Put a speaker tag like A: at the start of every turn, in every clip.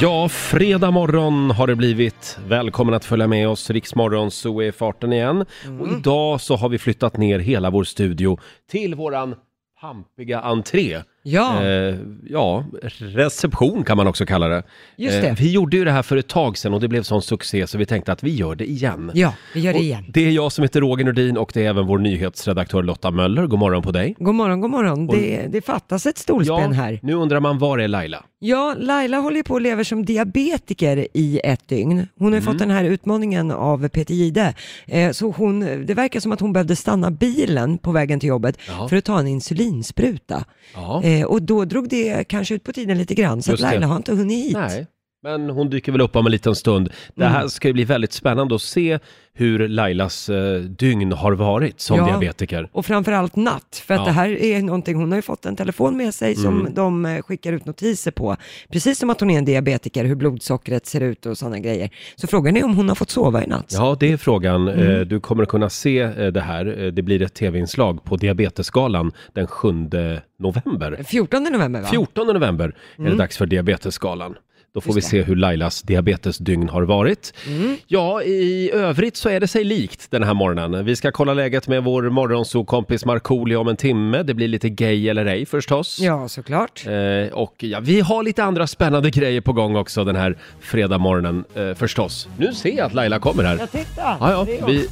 A: Ja, fredag morgon har det blivit. Välkommen att följa med oss. Riksmorgon så är farten igen. Och
B: Mm.
A: idag så har vi flyttat ner hela vår studio till våran pampiga entré.
B: Ja,
A: Eh, ja, reception kan man också kalla det. Eh,
B: Just det.
A: vi gjorde ju det här för ett tag sedan och det blev sån succé så vi tänkte att vi gör det igen.
B: ja, vi gör det
A: Och
B: igen.
A: det är jag som heter Roger Nordin och det är även vår nyhetsredaktör Lotta Möller. God morgon på dig.
B: God morgon, god morgon. Det, det fattas ett stolspänn här.
A: nu undrar man var är Laila?
B: Ja, Laila håller ju på och lever som diabetiker i ett dygn. Hon
A: Mm.
B: har ju fått den här utmaningen av Peter Gide. Eh, så hon, det verkar som att hon behövde stanna bilen på vägen till jobbet
A: Ja.
B: för att ta en insulinspruta.
A: Ja.
B: Eh, och då drog det kanske ut på tiden lite grann, så att
A: Just det.
B: Laila har inte hunnit hit.
A: Nej, men hon dyker väl upp om en liten stund. Det här ska ju bli väldigt spännande att se hur Lailas eh, dygn har varit som
B: Ja.
A: diabetiker.
B: Och framförallt natt, för att
A: Ja. Mm.
B: det här är någonting, hon har ju fått en telefon med sig som de eh, skickar ut notiser på. Precis som att hon är en diabetiker, hur blodsockret ser ut och sådana grejer. Så frågan är om hon har fått sova i natt.
A: Ja, det är frågan. Eh, Du kommer att kunna se eh, det här. Eh, Det blir ett tv-inslag på Diabetesgalan den 7 november.
B: 14 november va? Mm.
A: 14 november är det dags för Diabetesgalan. Då får vi se hur Lailas diabetesdygn har varit.
B: Mm.
A: Ja, i övrigt så är det sig likt den här morgonen. Vi ska kolla läget med vår morgonsokompis Markoolio om en timme. Det blir lite gay eller ej förstås.
B: Ja, såklart.
A: Eh, och ja, vi har lite andra spännande grejer på gång också den här fredagmorgonen eh, förstås. Nu ser jag att Laila kommer här.
B: Ja, titta!
A: Ja,
B: det är
A: ja,
B: hon.
A: vi,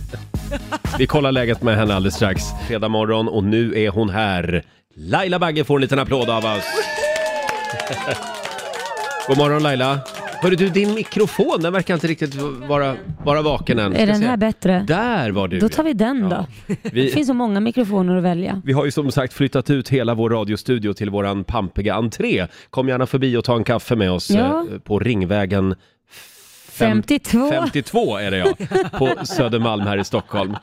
A: vi kollar läget med henne alldeles strax. Fredag morgon och nu är hon här. Laila Bagge får en liten applåd av oss. God morgon Laila. Hörru du, din mikrofon den verkar inte riktigt vara, vara vaken än.
C: Är
A: Ska
C: den
A: se.
C: här bättre?
A: Där var du.
C: Då tar vi den då. Det
A: Vi,
C: finns så många mikrofoner att välja.
A: vi har ju som sagt flyttat ut hela vår radiostudio till våran pampiga entré. Kom gärna förbi och ta en kaffe med oss
C: Ja.
A: eh, på Ringvägen
C: 52.
A: 52 är det ja, på Södermalm här i Stockholm.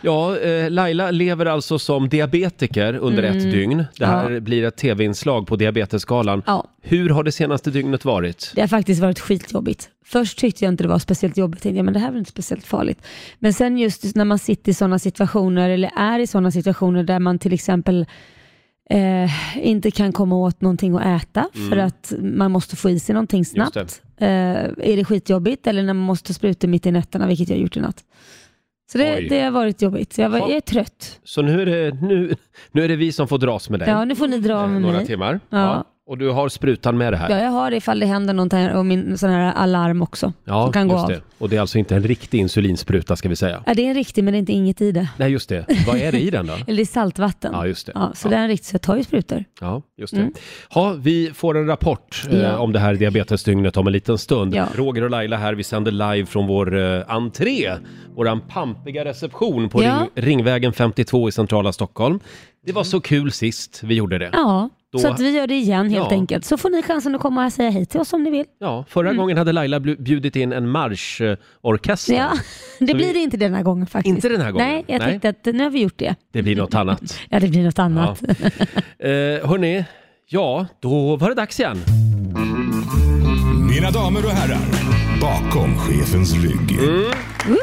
A: Ja, eh, Laila lever alltså som diabetiker under
C: Mm.
A: ett dygn. Det här blir ett tv-inslag på Diabetesgalan.
C: Ja.
A: Hur har det senaste dygnet varit?
C: Det har faktiskt varit skitjobbigt. Först tyckte jag inte det var speciellt jobbigt, tänkte jag, men det här är väl inte speciellt farligt. Men sen just när man sitter i sådana situationer, eller är i sådana situationer där man till exempel eh, inte kan komma åt någonting att äta för att man måste få i sig någonting snabbt.
A: Mm. Just
C: Eh, är det skitjobbigt eller när man måste ta sprutor mitt i nätterna, vilket jag har gjort i natt. Så det,
A: Oj.
C: det har varit jobbigt. Jag, var,
A: Ja.
C: jag är trött.
A: Så nu är, det, nu, nu är det vi som får dras med dig
C: Ja, nu får ni dra
A: eh,
C: med
A: några
C: mig.
A: timmar.
C: Ja.
A: Och du har sprutan med det här.
C: Ja, jag har det ifall det händer någonting och min sån här alarm också.
A: Ja,
C: som kan gå
A: just
C: av.
A: det. Och det är alltså inte en riktig insulinspruta ska vi säga.
C: Ja, det är en riktig men det är inte inget i det.
A: Nej, just det. Vad är det i den då?
C: Eller det är saltvatten.
A: Ja, just det.
C: så det är en riktig, så jag tar ju sprutor.
A: Ja, just det. Ha, vi får en rapport eh,
C: Ja.
A: om det här diabetesdygnet om en liten stund.
C: Ja.
A: Roger och Laila här, vi sänder live från vår eh, entré, våran pampiga reception på
C: Ja.
A: ring, Ringvägen 52 i centrala Stockholm. Det var så kul sist vi gjorde det.
C: Mm. Ja,
A: Då-
C: så att vi gör det igen helt
A: Ja.
C: enkelt. Så får ni chansen att komma och säga hej till oss om ni vill.
A: Ja,
C: Mm.
A: förra gången hade Laila blu- bjudit in en marschorkester.
C: Ja, det
A: Så
C: blir
A: vi-
C: det inte den här gången faktiskt.
A: Inte den här gången?
C: Nej, jag
A: Nej.
C: tänkte att nu har vi gjort det.
A: Det blir något annat.
C: Ja, det blir något
A: Ja.
C: annat.
A: Eh, hörni, ja, då var det dags igen.
D: Mina damer och herrar, bakom chefens rygg.
E: Mm.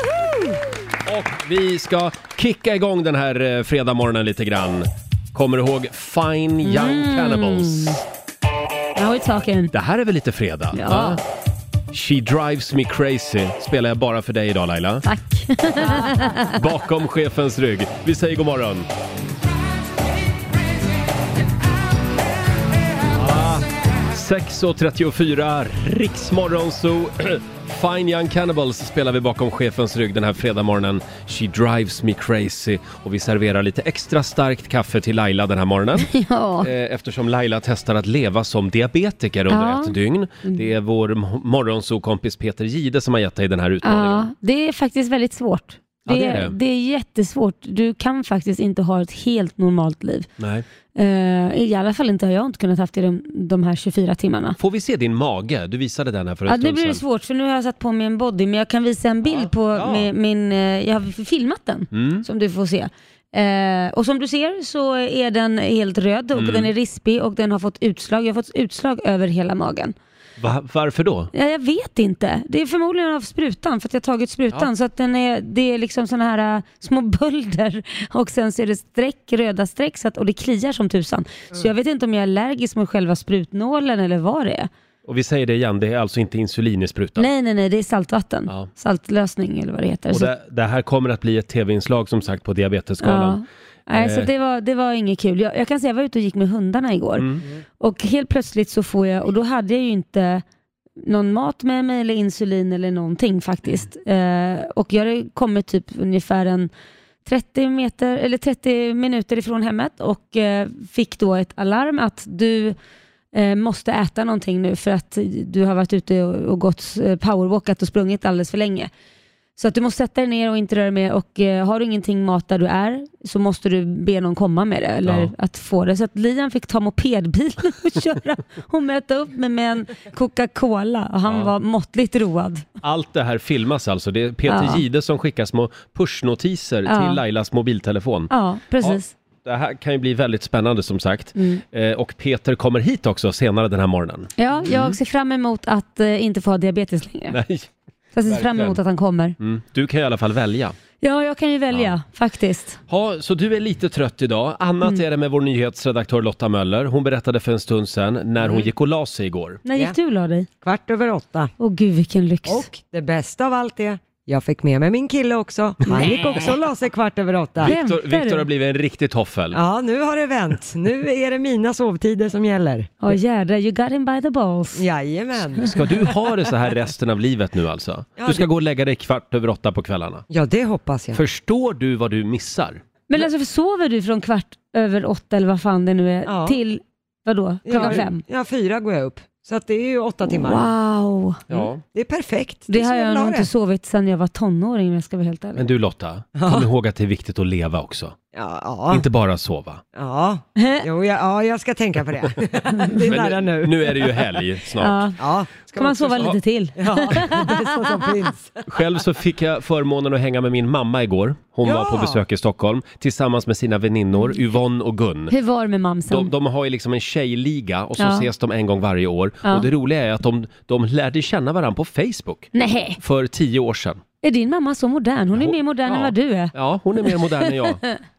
A: Och vi ska kicka igång den här eh, fredagmorgonen lite grann. Kommer du ihåg Fine Young Cannibals?
C: Now it's talking.
A: Det här är väl lite fredag?
C: Ja.
A: va? She Drives Me Crazy spelar jag bara för dig idag Laila.
C: Tack.
A: Bakom chefens rygg. Vi säger god morgon. Ah, 6.34, Riksmorgon Zoo. Fine Young Cannibals spelar vi bakom chefens rygg den här fredagmorgonen. She drives me crazy. Och vi serverar lite extra starkt kaffe till Laila den här morgonen.
C: Ja.
A: Eh, Eftersom Laila testar att leva som diabetiker under
C: Ja.
A: ett dygn. Det är vår morgonsokompis Peter Gide som har gett dig den här utmaningen.
C: ja, det är faktiskt väldigt svårt.
A: Ja, det är
C: är,
A: det.
C: det är jättesvårt. Du kan faktiskt inte ha ett helt normalt liv.
A: Nej.
C: Eh, I alla fall inte har jag inte kunnat haft det de, de här 24 timmarna.
A: Får vi se din mage? Du visade den här för en
C: Ja, nu
A: stund
C: blir det
A: sedan.
C: svårt för nu har jag satt på mig en body men jag kan visa en bild på
A: Ja. Mm.
C: mi- min, eh, jag har filmat den som du får se. Eh, och som du ser så är den helt röd och
A: Mm.
C: den är rispig och den har fått utslag. Jag har fått utslag över hela magen.
A: Va, varför då?
C: Ja, jag vet inte. Det är förmodligen av sprutan för att jag har tagit sprutan så att den är, det är liksom sådana här eh, små bölder och sen så är det streck, röda
A: Mm.
C: streck så att, och det kliar som tusan. Så jag vet inte om jag är allergisk mot själva sprutnålen eller vad det är.
A: Och vi säger det igen, det är alltså inte insulin i sprutan.
C: Nej, alltså- nej, nej, det är saltvatten.
A: Ja.
C: Saltlösning eller vad det heter.
A: Och
C: Så-
A: det, det här kommer att bli ett tv-inslag som sagt på diabetesskalan.
C: Ja. Nej, så
A: Eh.
C: det var, det var inget kul. Jag, jag kan säga jag var ute och gick med hundarna igår och helt plötsligt så får jag, och då hade jag ju inte någon mat med mig eller insulin eller någonting faktiskt. Eh, och jag hade kommit typ ungefär en 30, meter, eller 30 minuter ifrån hemmet och eh, fick då ett alarm att du eh, måste äta någonting nu för att du har varit ute och, och gått eh, powerwalkat och sprungit alldeles för länge. Så att du måste sätta dig ner och inte röra mer och eh, har du ingenting mat där du är så måste du be någon komma med det eller
A: Ja.
C: att få det. Så att Lian fick ta mopedbilen och köra och möta upp mig med en Coca-Cola och han
A: Ja.
C: var måttligt road.
A: Allt det här filmas alltså. Det är Peter
C: Ja.
A: Gide som skickar små pushnotiser
C: Ja.
A: till Lailas mobiltelefon.
C: Ja, precis.
A: Det här kan ju bli väldigt spännande som sagt.
C: Mm.
A: Eh, och Peter kommer hit också senare den här morgonen.
C: Ja,
A: Mm.
C: jag ser fram emot att eh, inte få ha diabetes längre.
A: Nej.
C: Så jag ser fram
A: verkligen.
C: emot att han kommer.
A: Mm. Du kan i alla fall välja.
C: Ja, jag kan ju välja faktiskt.
A: Ja, så du är lite trött idag. Annat
C: Mm.
A: är det med vår nyhetsredaktör Lotta Möller. Hon berättade för en stund sedan när
C: Mm.
A: hon gick och la sig igår.
C: När gick
B: Ja.
C: du och la dig?
B: Kvart över åtta.
C: Åh gud vilken lyx.
B: Och det bästa av allt är, jag fick med mig min kille också. Han gick också och la sig kvart över åtta.
C: Vem?
A: Viktor,
C: Skämtar du?
A: Viktor har blivit en riktig toffel.
B: Ja, nu har det vänt. Nu är det mina sovtider som gäller.
C: Ja jädrar, you got him by the balls.
B: Jajamän.
A: Ska du ha det så här resten av livet nu alltså?
B: Ja,
A: Du ska
B: det-
A: gå och lägga dig kvart över åtta på kvällarna.
B: Ja, det hoppas jag.
A: Förstår du vad du missar?
C: Men alltså sover du från kvart över åtta eller vad fan det nu är
B: Ja.
C: till vadå, klockan
B: ja,
C: fem?
B: Ja, fyra går jag upp. Så att det är ju åtta timmar.
C: Wow!
A: Ja.
B: Det är perfekt.
C: Det
B: är
C: har
B: så
C: jag
B: la
C: nog inte
B: det.
C: sovit sedan jag var tonåring om jag ska vara helt
A: Men
C: ärlig.
A: du Lotta, kom ihåg att det är viktigt att leva också.
B: Ja, ja.
A: Inte bara sova.
B: ja. Jo, jag, ja, jag ska tänka på det. Det är nära nu.
A: Nu är det ju helg snart.
C: Ja.
B: Ja, ska
C: Kan man sova
A: Ja.
C: lite till?
B: Ja, det bästa som finns.
A: Själv så fick jag förmånen att hänga med min mamma igår. Hon
B: Ja. Mm.
A: var på besök i Stockholm tillsammans med sina väninnor Yvonne och Gun.
C: Hur var det med mamsen?
A: De, de har ju liksom en tjejliga och så
C: Ja.
A: ses de en gång varje år.
C: Ja.
A: Och det roliga är att de, de lärde känna varandra på Facebook
C: Nej,
A: för tio år sedan.
C: är din mamma så modern? Hon är mer modern
A: Ja.
C: än vad du är.
A: Ja, hon är mer modern än jag.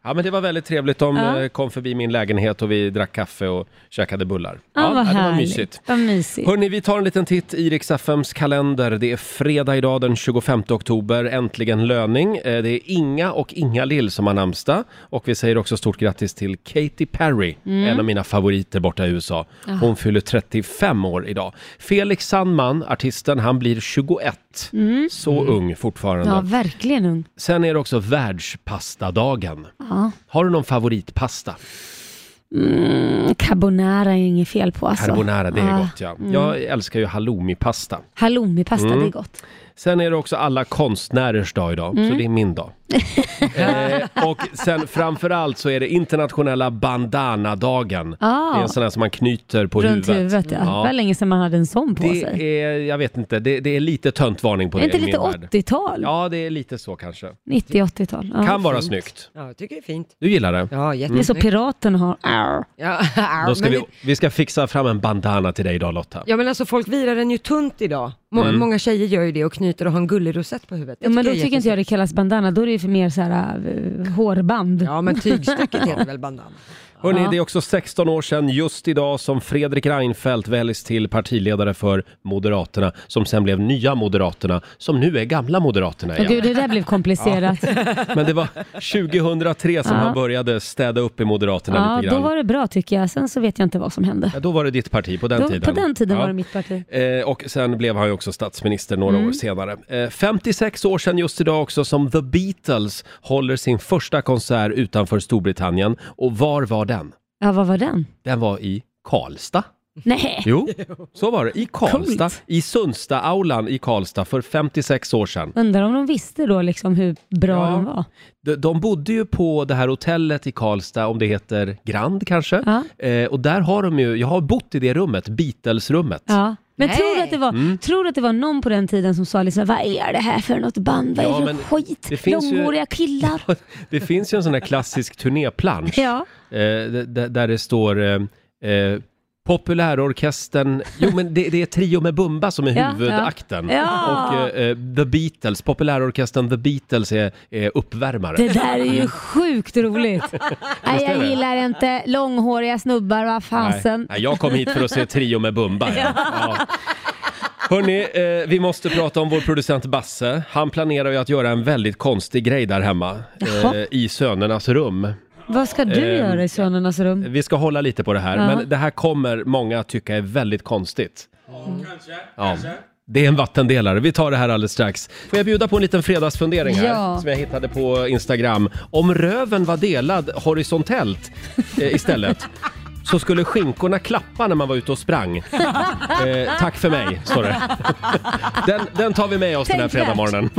A: Ja, men det var väldigt trevligt. De
C: Ja.
A: eh, kom förbi min lägenhet och vi drack kaffe och käkade bullar.
C: Ja, vad
A: ja, det var
C: härligt.
A: mysigt.
C: Vad mysigt.
A: Hörni, vi tar en liten titt i Rix FMs kalender. Det är fredag idag den 25 oktober. Äntligen löning. Eh, Det är Inga och Inga Lill som har namnsdag. Och vi säger också stort grattis till Katy Perry,
C: Mm.
A: en av mina favoriter borta i USA. Hon fyller 35 år idag. Felix Sandman, artisten, han blir 21. Så ung fortfarande.
C: Mm. Ja, verkligen ung.
A: Sen är det också världspastadagen.
C: Ja.
A: Har du någon favoritpasta?
C: Mm, carbonara är inget fel på alltså.
A: Carbonara, det är
C: Ja. Mm.
A: gott ja. Jag älskar ju halloumipasta.
C: Halloumipasta,
A: Mm.
C: det är gott.
A: Sen är det också alla konstnärers dag idag, så
C: Mm.
A: det är min dag. eh, och sen framförallt så är det internationella bandanadagen.
C: Ah.
A: Det är en sån här som man knyter på
C: Runt
A: huvudet.
C: huvudet ja. Det var länge sedan man hade en sån på
A: Det
C: sig.
A: är, jag vet inte, det, det är lite töntvarning på
C: Är
A: det
C: inte
A: i
C: lite
A: min värld.
C: 80-tal?
A: Ja, det är lite så kanske.
C: 90-80-tal. Ja.
A: Kan vara
B: fint.
A: snyggt.
B: Ja, jag tycker det är fint.
A: Du gillar det?
B: Ja,
C: Det är
B: jättesnyggt.
C: så piraterna har. Arr.
B: Ja,
A: Då ska
B: men
A: vi,
B: det-
A: vi ska fixa fram en bandana till dig idag Lotta.
B: Ja men alltså folk virar den ju tunt idag. Må-
A: Mm.
B: Många tjejer gör ju det och knyter och har en gullig rosett på huvudet.
C: Ja, men då tycker inte jag det kallas bandana, då är det ju för mer så här, eh, hårband.
B: Ja men tygstycket heter väl bandana.
A: Hörrni,
C: Ja.
A: det är också 16 år sedan just idag som Fredrik Reinfeldt väljs till partiledare för Moderaterna, som sen blev Nya Moderaterna, som nu är Gamla Moderaterna
C: Åh,
A: igen.
C: gud, det där blev komplicerat. Ja,
A: Men det var 2003 som
C: Ja.
A: han började städa upp i Moderaterna lite
C: då
A: grann.
C: var det bra tycker jag, sen så vet jag inte vad som hände.
A: Ja, då var det ditt parti på den
C: Då,
A: tiden.
C: på den tiden
A: Ja.
C: var det mitt parti. Mm.
A: Eh, och sen blev han ju också statsminister några år senare. Eh, 56 år sedan just idag också som The Beatles håller sin första konsert utanför Storbritannien. Och var var den?
C: Ja, vad var den?
A: Den var i Karlstad.
C: Nej,
A: Jo, så var det. I Karlstad,
C: Coolt.
A: i Sundsta-aulan i Karlstad för 56 år sedan.
C: undrar om de visste då liksom hur bra
A: Ja.
C: de var.
A: De, de bodde ju på det här hotellet i Karlstad, om det heter Grand kanske.
C: Ja.
A: Eh, och där har de ju, jag har bott i det rummet, Beatles-rummet.
C: Ja. Men
B: Nej.
C: tror du, att det var,
A: Mm.
C: tror du att det var någon på den tiden som sa liksom, vad är det här för något band? Vad
A: Ja,
C: är det
A: men
C: för skit?
A: det finns ju-
C: Långhåriga killar.
A: Det finns ju en sån här klassisk turnéplansch
C: Ja.
A: eh, d- d- där det står eh, eh, Populärorkestern, jo men det, det är Trio med Bumba som är
C: Ja,
A: huvudakten.
C: ja. Ja.
A: Och eh, eh, The Beatles, populärorkestern The Beatles är, är uppvärmare.
C: Det där är ju sjukt roligt. Nej,
A: är det.
C: jag gillar inte långhåriga snubbar, vad fasen.
A: Nej, nej, jag kom hit för att se Trio med Bumba. Ja. Ja. Hörni, eh, vi måste prata om vår producent Basse. Han planerar ju att göra en väldigt konstig grej där hemma.
C: Jaha.
A: Eh, I sönernas rum.
C: Vad ska du
A: Ehm,
C: göra i sönernas rum?
A: Vi ska hålla lite på det här,
C: Liksom. Ja.
A: men det här kommer många att tycka är väldigt konstigt. Ja, Mm. kanske. Det är en vattendelare. Vi tar det här alldeles strax. Får jag bjuda på en liten fredagsfundering här
C: Ja.
A: som jag hittade på Instagram. Om röven var delad horisontellt eh, istället så skulle skinkorna klappa när man var ute och sprang. Eh, tack för mig, står det. Den, den tar vi med oss den här
C: Tänkvärt.
A: fredagsmorgonen.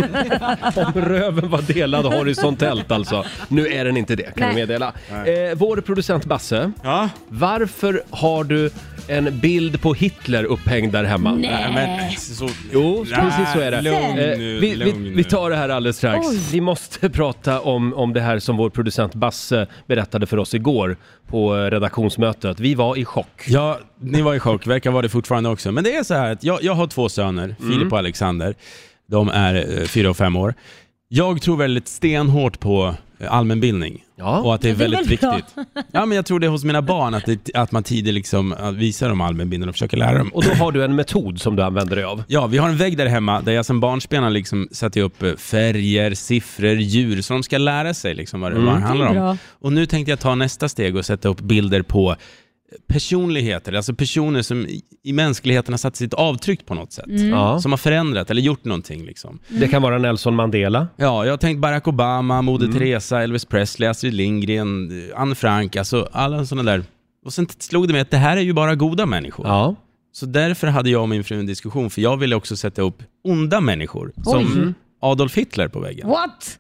A: Om röven var delad horisontellt alltså. Nu är den inte det, kan vi
C: Nej.
A: meddela. Eh, vår producent Basse,
F: Ja,
A: varför har du en bild på Hitler upphängd där hemma?
F: nej men så...
A: Jo,
F: Nej,
A: precis så är det.
F: Lugn
A: Eh,
F: nu,
A: vi,
F: lugn
A: vi,
F: nu.
A: vi tar det här alldeles strax.
C: Oj.
A: Vi måste prata om, om det här som vår producent Basse berättade för oss igår på eh, redaktionsmötet. Vi var i chock.
F: Ja, ni var i chock, verkar vara det fortfarande också. Men det är så här att jag, jag har två söner, Filip och Alexander. De är eh, fyra och fem år. Jag tror väldigt stenhårt på eh, allmänbildning.
A: Ja.
F: Och att det är
C: Det är
F: väldigt
C: väl bra.
F: viktigt. Ja, men jag tror det är hos mina barn, att, det, att man tidigt liksom eh, visar dem allmänbildning och försöker lära dem.
A: Och då har du en metod som du använder dig av.
F: Ja, vi har en vägg där hemma där jag som barnsben har liksom satt upp eh, färger, siffror, djur, så de ska lära sig liksom vad det, vad det handlar om.
C: Bra.
F: Och nu tänkte jag ta nästa steg och sätta upp bilder på personligheter, alltså personer som i- i mänskligheten har satt sitt avtryck på något sätt.
A: Mm. Ja.
F: Som har förändrat eller gjort någonting. Liksom.
A: Det kan vara Nelson Mandela.
F: Ja, jag har tänkt Barack Obama, Moder
A: Mm.
F: Teresa, Elvis Presley, Astrid Lindgren, eh, Anne Frank, alltså alla sådana där. Och sen slog det mig att det här är ju bara goda människor.
A: Ja.
F: Så därför hade jag och min fru en diskussion, för jag ville också sätta upp onda människor,
A: Mm.
F: som Adolf Hitler på väggen.
C: What?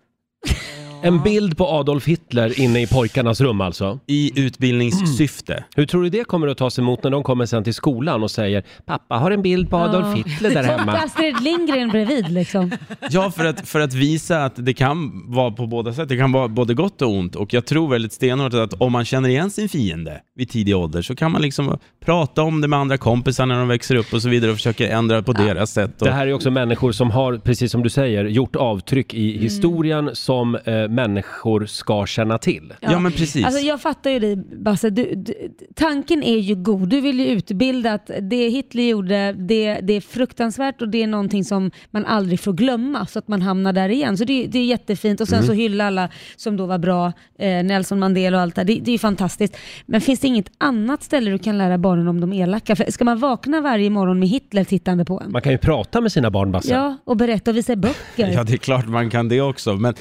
A: En bild på Adolf Hitler inne i pojkarnas rum alltså.
F: I utbildningssyfte.
A: Hur tror du det kommer att tas emot när de kommer sen till skolan och säger “Pappa har en bild på Adolf Hitler där
C: Och
A: hemma”?
C: Astrid Lindgren bredvid liksom.
F: Ja, för att, för att visa att det kan vara på båda sätt. Det kan vara både gott och ont. Och jag tror väldigt stenhårt att om man känner igen sin fiende vid tidig ålder så kan man liksom prata om det med andra kompisar när de växer upp och så vidare och försöka ändra på deras sätt. Och,
A: Det här är också människor som har, precis som du säger, gjort avtryck i
B: Mm.
A: historien som eh, människor ska känna till.
F: ja. men precis.
C: Alltså jag fattar ju dig Basse. Du, du, tanken är ju god. Du vill ju utbilda att det Hitler gjorde, det, det är fruktansvärt och det är någonting som man aldrig får glömma så att man hamnar där igen. Så det, det är jättefint och sen
F: Mm.
C: så hylla alla som då var bra, eh, Nelson Mandela och allt det där. Det, det är ju fantastiskt. Men finns det inget annat ställe du kan lära barnen om de elaka? För ska man vakna varje morgon med Hitler tittande på en?
A: Man kan ju prata med sina barn, Basse.
C: Ja, och berätta och visa böcker.
F: Ja, det är klart man kan det också. Men,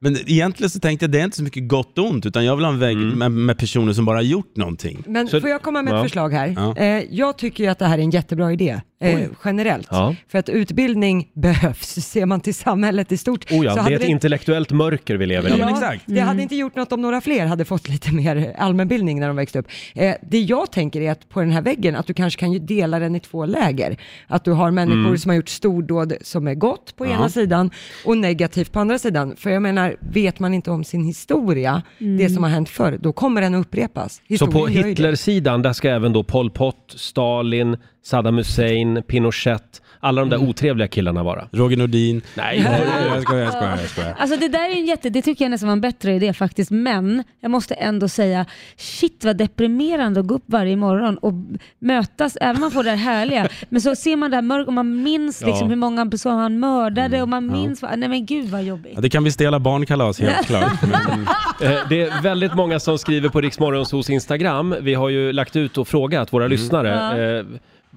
F: men egentligen så tänkte jag det är inte så mycket gott och ont utan jag vill ha en väg med, med personer som bara har gjort någonting.
B: Men
A: Så-
B: får jag komma med ett
A: Ja.
B: förslag här?
F: Ja.
B: Eh, jag tycker ju att det här är en jättebra idé, eh, generellt.
A: Ja.
B: För att utbildning behövs. Ser man till samhället i stort
A: Oh ja,
B: så
A: det
B: hade
A: är ett intellektuellt mörker vi lever i.
F: Ja, men
B: Ja,
F: exakt.
B: Det hade inte gjort något om några fler hade fått lite mer allmänbildning när de växte upp. Eh, det jag tänker är att på den här väggen, att du kanske kan ju dela den i två läger. Att du har människor som har gjort stordåd som är gott på ena sidan och negativt på andra sidan. För jag menar, vet man inte om sin historia, det
C: Mm.
B: som har hänt förr, då kommer den att upprepas.
A: Så på
B: Historien gör ju det.
A: Hitlersidan, där ska även då Pol Pot, Stalin, Saddam Hussein, Pinochet, alla de där
B: Mm.
A: otrevliga killarna vara.
F: Roger Nordin.
A: Nej,
F: Jag skojar, jag skojar, jag skojar.
C: Alltså det där är en jätte, det tycker jag nästan var en bättre idé faktiskt, men jag måste ändå säga, shit vad deprimerande att gå upp varje morgon och mötas, även om man får det här härliga, men så ser man det här mörkret och man minns liksom
A: Ja.
C: hur många personer han mördade och man minns, vad- nej men gud vad jobbigt.
F: Mm. Ja, det kan bli stela barnkalas helt klart. Men,
A: Eh, Det är väldigt många som skriver på Riksmorgonsos Instagram. Vi har ju lagt ut och
F: Mm.
A: frågat våra lyssnare. Eh,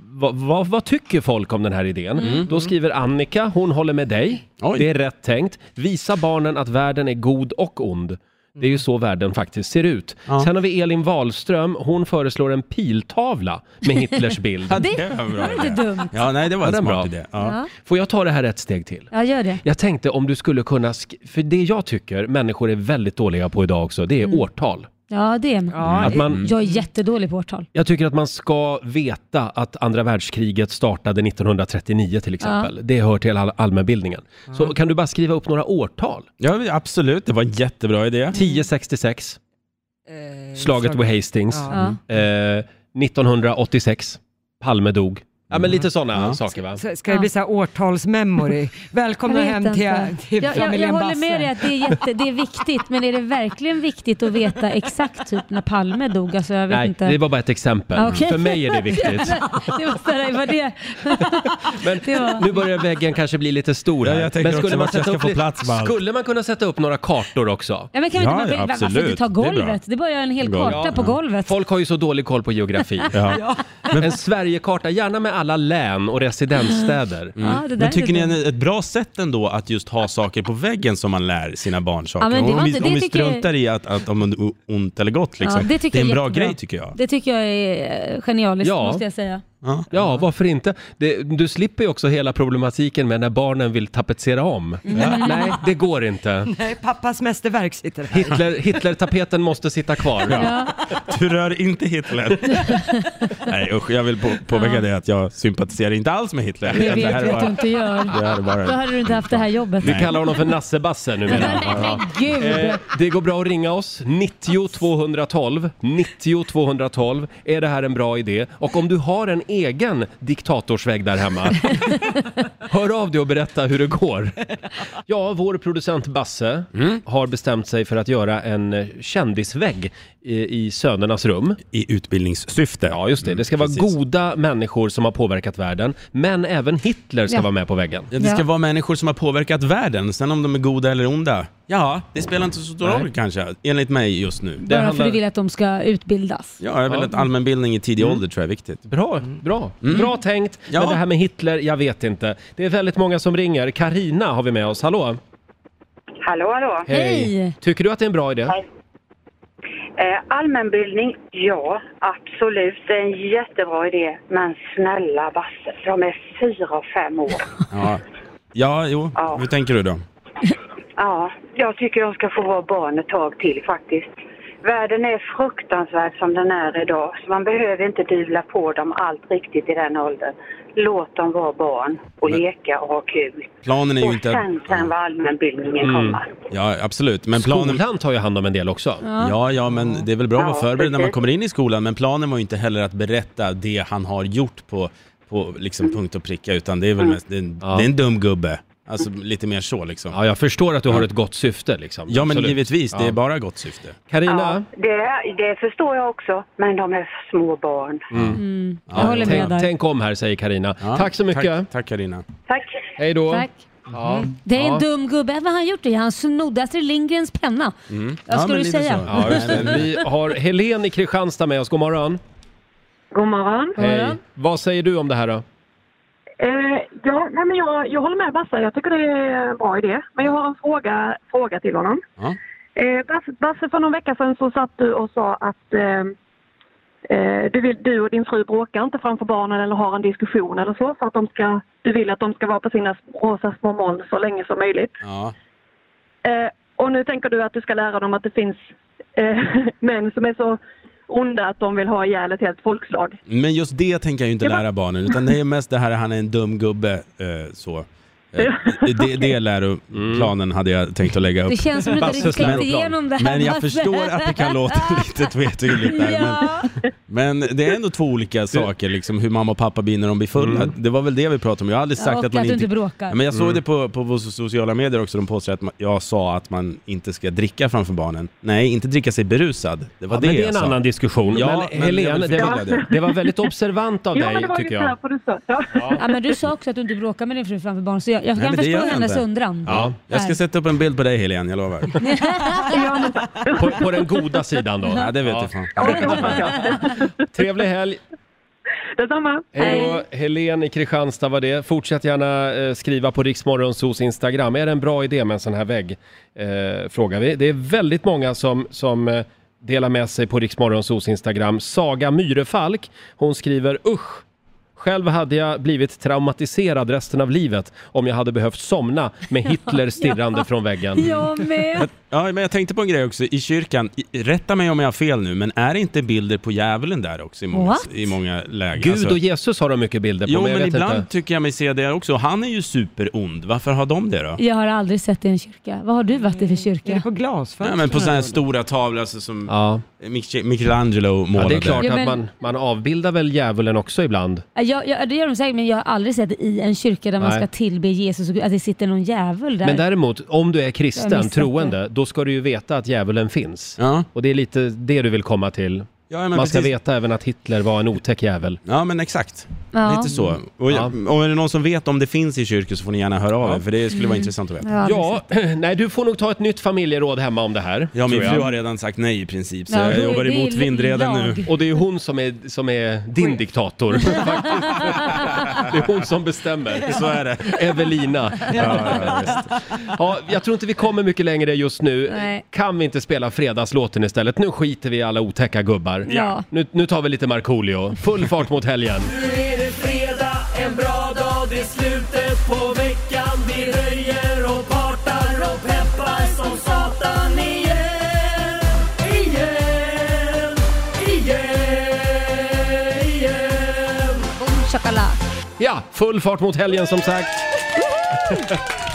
A: vad, vad, vad tycker folk om den här idén? Då skriver Annika, hon håller med dig.
F: Mm. Oj.
A: Det är rätt tänkt. Visa barnen att världen är god och ond. Det är ju så världen faktiskt ser ut.
F: Ja.
A: Sen har vi Elin Wahlström, hon föreslår en piltavla med Hitlers bild.
F: det var bra.
C: Det är dumt.
F: Ja, nej, det var en
A: den
F: smart
A: är bra.
F: idé. Ja.
C: Ja.
A: Får jag ta det här ett steg till?
C: Ja, gör det.
A: Jag tänkte om du skulle kunna, sk- för det jag tycker människor är väldigt dåliga på idag också, det är
F: Mm.
A: årtal.
C: Ja, det är
B: Ja,
A: Att man,
C: Jag är jättedålig på årtal.
A: Jag tycker att man ska veta att andra världskriget startade 1939 till exempel. Det hör till all allmänbildningen. Så kan du bara skriva upp några årtal?
C: Mm.
F: Ja, absolut. Det var en jättebra idé.
A: 1066,
B: Eh,
A: slaget vid Hastings.
B: Ja.
C: Ja.
A: Eh, 1986, Palme dog. Ja,
C: Mm.
A: men lite sådana
F: Ja.
A: saker va?
B: Så ska det bli så här årtalsmemory? Välkomna
C: Jag vet
B: hem till,
C: inte.
B: till
C: jag, jag, jag
B: familjen
C: håller med dig
B: Basse.
C: att det är, jätte, det är viktigt, men är det verkligen viktigt att veta exakt typ när Palme dog? Alltså, jag vet
A: Nej,
C: inte.
A: det var bara ett exempel.
C: Ah, okej.
A: För mig är det viktigt.
C: det var sådär, var det...
A: Men
C: Det var-
A: nu börjar väggen kanske bli lite stor här.
F: Ja, jag tänker
A: men
F: också att jag ska
A: upp
F: få
A: lite-
F: plats med allt.
A: skulle man kunna sätta upp några kartor också?
C: Ja, men kan vi
F: Ja,
C: inte,
F: ja,
C: ja, varför
F: absolut.
C: inte ta
F: Det är bra.
C: golvet? Det är bara en hel
F: Bra.
C: karta på golvet.
A: Folk har ju så dålig koll på geografi.
F: Ja.
A: En Sverigekarta, gärna med alla län och residensstäder.
C: Ja, det där
F: Men
C: är
F: tycker ni
C: inte
F: är
C: dumt.
F: det ett bra sätt ändå att just ha saker på väggen som man lär sina barn saker?
C: Ja, men det var
F: om vi,
C: inte-
F: om
C: det
F: vi
C: tycker jag-
F: struntar i att, att om det är ont eller gott liksom.
C: Ja,
F: det,
C: det tycker
F: är en
C: jag är
F: bra
C: jättebra.
F: grej tycker jag.
C: Det tycker jag är eh, genialiskt
A: Ja.
C: måste jag säga.
F: Ja.
A: Ja, varför inte? Det, du slipper ju också hela problematiken med när barnen vill tapetsera om. Nej, det går inte.
B: Nej, pappas mästerverk sitter här.
A: Hitler, Hitler-tapeten måste sitta kvar.
F: Du rör inte Hitler. Nej usch, jag vill på, påpeka det att jag sympatiserar inte alls med Hitler.
C: Det vet vi
F: här är
C: att du
F: bara,
C: inte gör.
F: det här är
C: Då
F: bara...
C: hade du inte haft det här jobbet.
A: Vi kallar honom för Nassebasse numera. Ja.
C: Gud!
A: Eh, det går bra att ringa oss, 90 212. 90 212. Är det här en bra idé? Och om du har en egen diktatorsvägg där hemma, hör av dig och berätta hur det går. Ja, vår producent Basse har bestämt sig för att göra en eh, kändisvägg i, i sönernas rum.
F: I utbildningssyfte.
A: Ja, just det. Det ska vara
F: Mm, precis.
A: goda människor som har påverkat världen, men även Hitler ska
C: Ja.
A: vara med på väggen.
F: Ja, det ska
C: Ja.
F: vara människor som har påverkat världen, sen om de är goda eller onda. Ja, det spelar inte så stor
A: Nej.
F: roll kanske, enligt mig just nu.
A: Det
C: Bara för
A: handlar-
C: du vill att de ska utbildas.
F: Ja, jag vill
A: Ja. Mm.
F: att allmänbildning i tidig ålder tror jag är viktigt.
A: Bra, Mm. bra. Bra tänkt.
F: Mm. Ja.
A: Men det här med Hitler, jag vet inte. Det är väldigt många som ringer. Karina har vi med oss. Hallå?
G: Hallå, hallå.
C: Hej.
A: Tycker du att det är en bra idé?
G: Eh, allmänbildning, ja, absolut. Det är en jättebra idé. Men snälla Basse, de är fyra och fem år.
F: Ja, ja jo.
G: Ja.
F: Hur tänker du då?
G: Ja, jag tycker de ska få vara barn ett tag till faktiskt. Världen är fruktansvärd som den är idag, så man behöver inte dyvla på dem allt riktigt i den åldern. Låt dem vara barn och leka och ha kul.
F: Planen är ju
G: Och
F: inte... Mm.
G: sen, sen var allmänbildningen komma.
F: Ja, absolut. Men planen...
A: Skolan tar ju hand om en del också.
F: Ja, ja, men det är väl bra att vara
G: Ja,
F: förberedd när man
G: precis.
F: kommer in i skolan. Men planen var ju inte heller att berätta det han har gjort på, på liksom punkt och pricka, utan det är
G: Mm.
F: väl mest, det är, en-
A: Ja.
F: det är en dum gubbe. Alltså lite mer så liksom.
A: Ja, jag förstår att du har ett gott syfte liksom.
F: Ja, men
A: Absolut.
F: givetvis, det
A: Ja.
F: är bara gott syfte.
G: Ja,
A: Carina,
G: det, det förstår jag också, men de är små barn.
F: Mm.
C: Jag håller med
A: tänk,
C: där.
A: tänk om här, säger Karina.
F: Ja.
A: Tack så mycket.
F: Tack- Tack Carina.
G: Tack!
A: Hej då.
C: Tack.
A: Ja.
C: Det är en
A: Ja.
C: dum gubbe. Vad har han gjort? Det? Han snodde Astrid Lindgrens penna. Vad ska
F: Mm. men
C: du
F: lite
C: säga?
F: så.
A: Ja, just det. Vi har Helen i Kristianstad med oss. God morgon.
H: God morgon.
C: God morgon.
A: Vad säger du om det här då?
H: Eh, ja, nej, men jag, jag håller med Basse. Jag tycker det är en bra idé. Men jag har en fråga, fråga till honom.
F: Ja.
H: Eh, Basse, Basse, för någon vecka sedan så satt du och sa att eh, eh, du, vill, du och din fru bråkar inte framför barnen eller har en diskussion eller så. För att de ska, du vill att de ska vara på sina rosa små moln så länge som möjligt.
F: Ja.
H: Eh, och nu tänker du att du ska lära dem att det finns eh, män som är så onda att de vill ha ihjäl ett helt folkslag.
F: Men just det tänker jag ju inte
H: Jag bara-
F: lära barnen, utan det är mest det här han är en dum gubbe. Eh, så. Eh, det, det läroplanen hade jag tänkt att lägga upp.
C: Det känns som att du inte
A: Basses
C: riktigt tänkt
A: läroplan.
C: igenom det här.
F: Men jag
C: Basse.
F: förstår att det kan låta lite tvetydigt där.
C: Ja.
F: Men, men det är ändå två olika saker, liksom hur mamma och pappa blir när de blir fulla. Det var väl det vi pratade om. Jag har aldrig
C: Ja,
F: sagt
C: och
F: att man
C: att du
F: inte...
C: inte bråkar.
F: Ja, men jag såg det på, på våra sociala medier också, de påstår att man, jag sa att man inte ska dricka framför barnen. Nej, inte dricka sig berusad. Det var
A: Ja,
F: det,
A: men det är
F: jag
A: en
F: sa.
A: annan diskussion.
F: Ja,
A: men
F: men
A: Helen,
F: jag vill
A: det var,
F: förtydliga det.
A: det var väldigt observant av
H: ja, men det
A: dig,
H: var
A: tycker
H: ju
A: jag.
H: därför du sa. Ja.
C: Ja, men du sa också att du inte bråkar med din fru framför barn, så jag, jag
F: Nej,
C: kan
F: men det gör
C: förstå
F: jag
C: hennes
F: inte.
C: undran.
F: Ja, jag ska
C: Där.
F: sätta upp en bild på dig Helene, jag lovar.
A: På, på den goda sidan då.
F: Ja, det vet du fan.
H: Ja, det hoppas jag.
A: Trevlig helg!
H: Detsamma.
A: Hej då! Helen i Kristianstad var det. Fortsätt gärna eh, skriva på Riksmorgonsos Instagram. Är det en bra idé med en sån här vägg? Eh, frågar vi. Det är väldigt många som, som eh, delar med sig på Riksmorgonsos Instagram. Saga Myrefalk, hon skriver usch! Själv hade jag blivit traumatiserad resten av livet om jag hade behövt somna med Hitler stirrande från väggen.
C: Jag med.
F: Ja, men jag tänkte på en grej också. I kyrkan, i- rätta mig om jag har fel nu, men är det inte bilder på djävulen där också i många,
C: What?
F: i många lägen?
A: Gud
F: Alltså-
A: och Jesus har de mycket bilder på,
F: Jo,
A: men jag
F: men
A: vet
F: ibland
A: inte.
F: tycker jag mig se det också. Han är ju superond. Varför har de det då?
C: Jag har aldrig sett dig i en kyrka. Vad har du varit i för
B: Är det
C: kyrka?
B: på
F: Nej,
B: glasfönster?
F: men på sådana här stora tavlor alltså, som
A: Ja.
F: Mich- Michelangelo målade.
A: Ja, det är klart
C: Ja,
A: att
C: men-
A: man, man avbildar väl djävulen också ibland.
C: Jag, jag, det gör de säkert, men jag har aldrig sett i en kyrka där man
A: Nej.
C: ska tillbe Jesus och Gud, att det sitter någon djävul där.
A: Men däremot, om du är
C: Jag har
A: kristen,
C: missat
A: troende, då ska du ju veta att djävulen finns.
F: Ja.
A: Och det är lite det du vill komma till.
F: Ja, men
A: Man ska
F: precis.
A: veta även att Hitler var en otäck djävul.
F: Ja, men exakt.
C: Ja.
F: Lite så. Och,
A: Ja.
F: och är det någon som vet om det finns i kyrkor så får ni gärna höra av er, för det skulle vara intressant att veta.
C: Ja,
A: Ja, nej du får nog ta ett nytt familjeråd hemma om det här.
F: Ja, min
A: tror jag.
F: fru har redan sagt nej i princip, så
C: Ja, då-
F: jag jobbar
C: det är
F: emot
C: ju
F: vindreden
C: lag.
F: nu.
A: Och det är ju hon som är, som är din diktator. faktiskt. det är hon som bestämmer.
F: Så är det.
A: Evelina. Ja, jag tror inte vi kommer mycket längre just nu.
C: Nej.
A: Kan vi inte spela fredagslåten istället? Nu skiter vi i alla otäcka gubbar.
C: Ja.
A: Nu, nu tar vi lite Markoolio. Full fart mot helgen.
C: Chakala.
A: Ja, full fart mot helgen som sagt.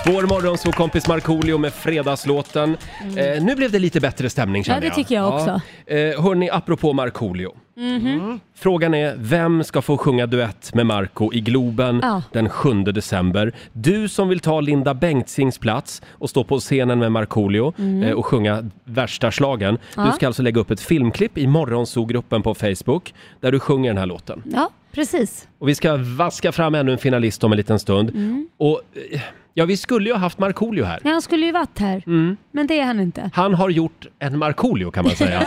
A: Vår morgonsåkompis Markoolio med fredagslåten. Eh, nu blev det lite bättre stämning känner
C: Mm. Ja, det
A: jag.
C: tycker jag också. Mhm.
A: Ja. Eh, hörni, apropå Markoolio. Mm. Frågan är, vem ska få sjunga duett med Marco i Globen
C: Ja.
A: den 7 december? Du som vill ta Linda Bengtzings plats och stå på scenen med Markoolio eh, och sjunga värsta slagen. Du
C: Mm. Ja.
A: ska alltså lägga upp ett filmklipp i Morgonzoo-gruppen på Facebook där du sjunger den här låten.
C: Ja, precis.
A: Och vi ska vaska fram ännu en finalist om en liten stund.
C: Mm.
A: Och eh, ja, vi skulle ju ha haft Markoolio här.
C: Ja, han skulle ju varit här, men det är han inte.
A: Han har gjort en Markoolio kan man säga.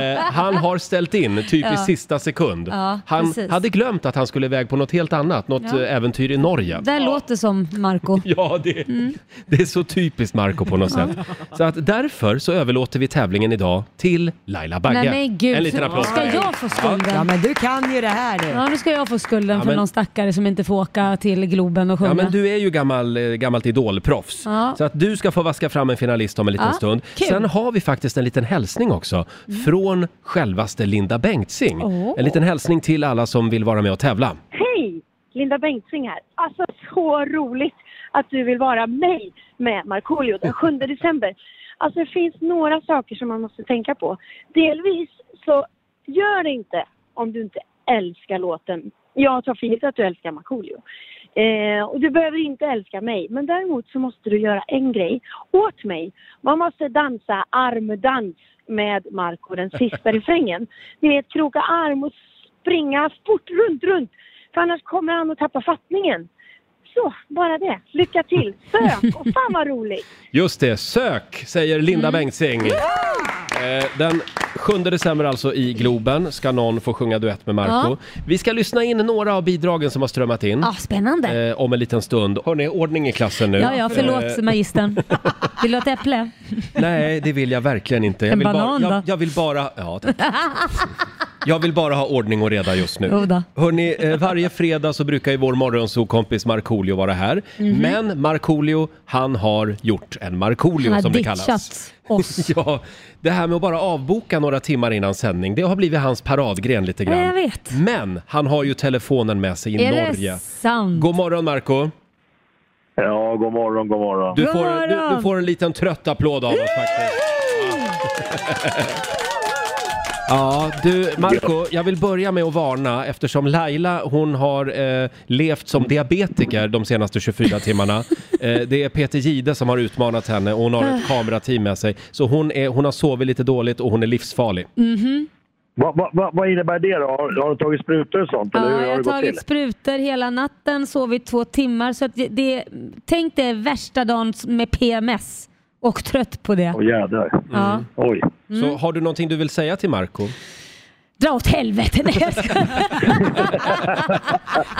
A: eh, han har ställt in typ i sista sekund.
C: Ja,
A: han
C: precis.
A: hade glömt att han skulle iväg på något helt annat, något
C: Ja.
A: eh, äventyr i Norge.
C: Det låter som Marco.
A: Ja, det,
C: Mm.
A: det är så typiskt Marco på något sätt. Så att därför så överlåter vi tävlingen idag till Laila Bagge.
C: Nej men gud,
A: en liten applåd för
C: ska
A: dig.
C: jag få skulden?
B: Ja
C: Ja.
B: men du kan ju det här du.
C: nu ska jag få skulden
A: Ja,
C: för
A: men-
C: någon stackare som inte får åka till Globen och sjunga.
A: Ja, men du är ju gammal, eh, gammalt idolproffs.
C: Ja.
A: Så att du ska få vaska fram en finalist om en liten
C: Ja,
A: stund.
C: kul. Mm.
A: Sen har vi faktiskt en liten hälsning också. Från självaste Linda Bengtzing.
C: Åh.
A: En liten hälsning till alla som vill vara med och tävla.
H: Hej! Linda Bengtzing här. Alltså så roligt att du vill vara mig med Markoolio den 7 december. Alltså det finns några saker som man måste tänka på. Delvis så gör det inte om du inte älskar låten. Jag tar för givet att du älskar Markoolio. Eh, och du behöver inte älska mig, men däremot så måste du göra en grej åt mig. Man måste dansa armdans med Marco den sista refrängen. Ni vet, kroka arm och springa fort runt, runt. För annars kommer han att tappa fattningen. Så, bara det. Lycka till. Sök och fan vad roligt.
A: Just det, sök säger Linda
C: Mm.
A: Bengtzing. Eh, Den 7 december alltså i Globen ska någon få sjunga duett med Marco. Vi ska lyssna in några av bidragen som har strömmat in.
C: Ja, Ah, spännande.
A: eh, Om en liten stund. Hörni, ordning i klassen nu.
C: Ja, ja, förlåt
A: Eh,
C: magistern. Vill du ha ett äpple?
A: Nej, det vill jag verkligen inte. Jag
C: En
A: vill
C: banan
A: bara,
C: då?
A: jag, jag vill bara... Ja, tack. jag vill bara ha ordning och reda just
C: Jo
A: nu.
C: då.
A: Hörni, eh, varje fredag så brukar ju vår morgonsokompis Markoolio vara här.
C: Mhm.
A: Men Markoolio, han har gjort en
C: Han
A: Markoolio
C: har
A: som det kallas.
C: ditchat oss.
A: Ja, det här med att bara avboka några timmar innan sändning, det har blivit hans paradgren lite grann.
C: Ja, jag vet.
A: Men han har ju telefonen med sig i
C: Är
A: Norge.
C: det sant?
A: God morgon Marco!
I: Ja, god morgon, god morgon.
A: Du
C: God
A: får, du, du
C: morgon.
A: får en liten trött applåd av oss faktiskt. Ja, du Marco, jag vill börja med att varna eftersom Laila hon har eh, levt som diabetiker de senaste 24 timmarna. Eh, det är Peter Gide som har utmanat henne och hon har ett kamerateam med sig. Så hon, är, hon har sovit lite dåligt och hon är livsfarlig.
I: Vad va, va, vad innebär det då? Har, har du tagit sprutor och sånt? eller hur
C: Ja,
I: har
C: jag
I: det
C: har
I: gått
C: tagit
I: till?
C: sprutor hela natten, sovit två timmar. Så att det, det, tänk dig värsta dagen med PMS och trött på det.
I: Åh jädrar.
C: Ja.
I: Oj.
A: Så har du någonting du vill säga till Marco?
C: Dra åt helvete! Nej, jag skojar.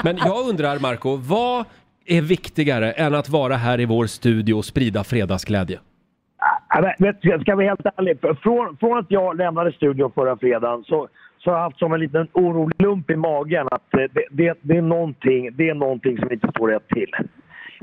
A: Men jag undrar Marco, vad är viktigare än att vara här i vår studio och sprida fredagsglädje?
I: Ja, men, vet, du, jag ska vara helt ärlig. Från, från att jag lämnade studion förra fredagen så, så har jag haft som en liten orolig lump i magen att eh, det, det, det, är, någonting, det är någonting som inte står rätt till.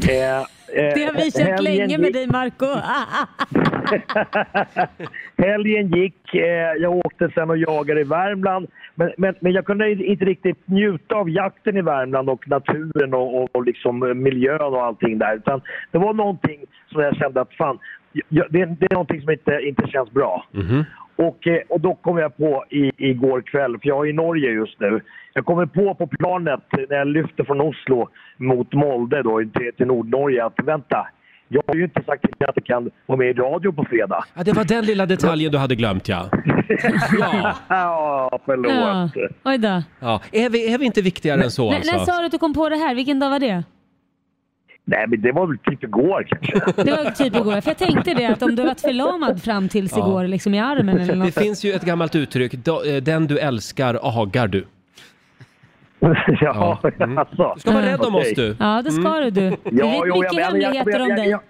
I: Eh, eh,
C: Det har vi känt
I: helgen
C: länge med
I: gick-
C: dig Marco. Ah, ah, ah.
I: Helgen gick, eh, jag åkte sen och jagade i Värmland. Men, men, men jag kunde i- inte riktigt njuta av jakten i Värmland och naturen och, och, och liksom eh, miljön och allting där. Utan det var någonting som jag kände att fan, jag, det, det är någonting som inte, inte känns bra. Och, eh, och då kom jag på i, igår kväll, för jag är i Norge just nu. Jag kommer på på planet när jag lyfter från Oslo mot Molde då, till, till Nordnorge att vänta, jag har ju inte sagt till dig att jag kan vara med i radio på fredag.
A: Ja, det var den lilla detaljen du hade glömt ja. Ja,
I: Ja, förlåt.
C: Ja. Oj då.
A: ja. Är, vi, är vi inte viktigare än så
C: N- När sa
A: alltså?
C: du att du kom på det här? Vilken dag var det?
I: Nej, men det var väl typ igår kanske.
C: Det var typ igår. För jag tänkte det att om du varit förlamad fram tills igår liksom i armen eller
A: Det
C: något.
A: finns ju ett gammalt uttryck, "Da- eh, den du älskar agar du.
I: ja, alltså.
A: Du ska vara rädd om
I: Okej.
A: oss du.
C: Ja, det ska du. du. Mm. Vi vet mycket
I: men-
C: hemligheter
I: jag,
C: om
I: jag,
C: dig.
I: Jag,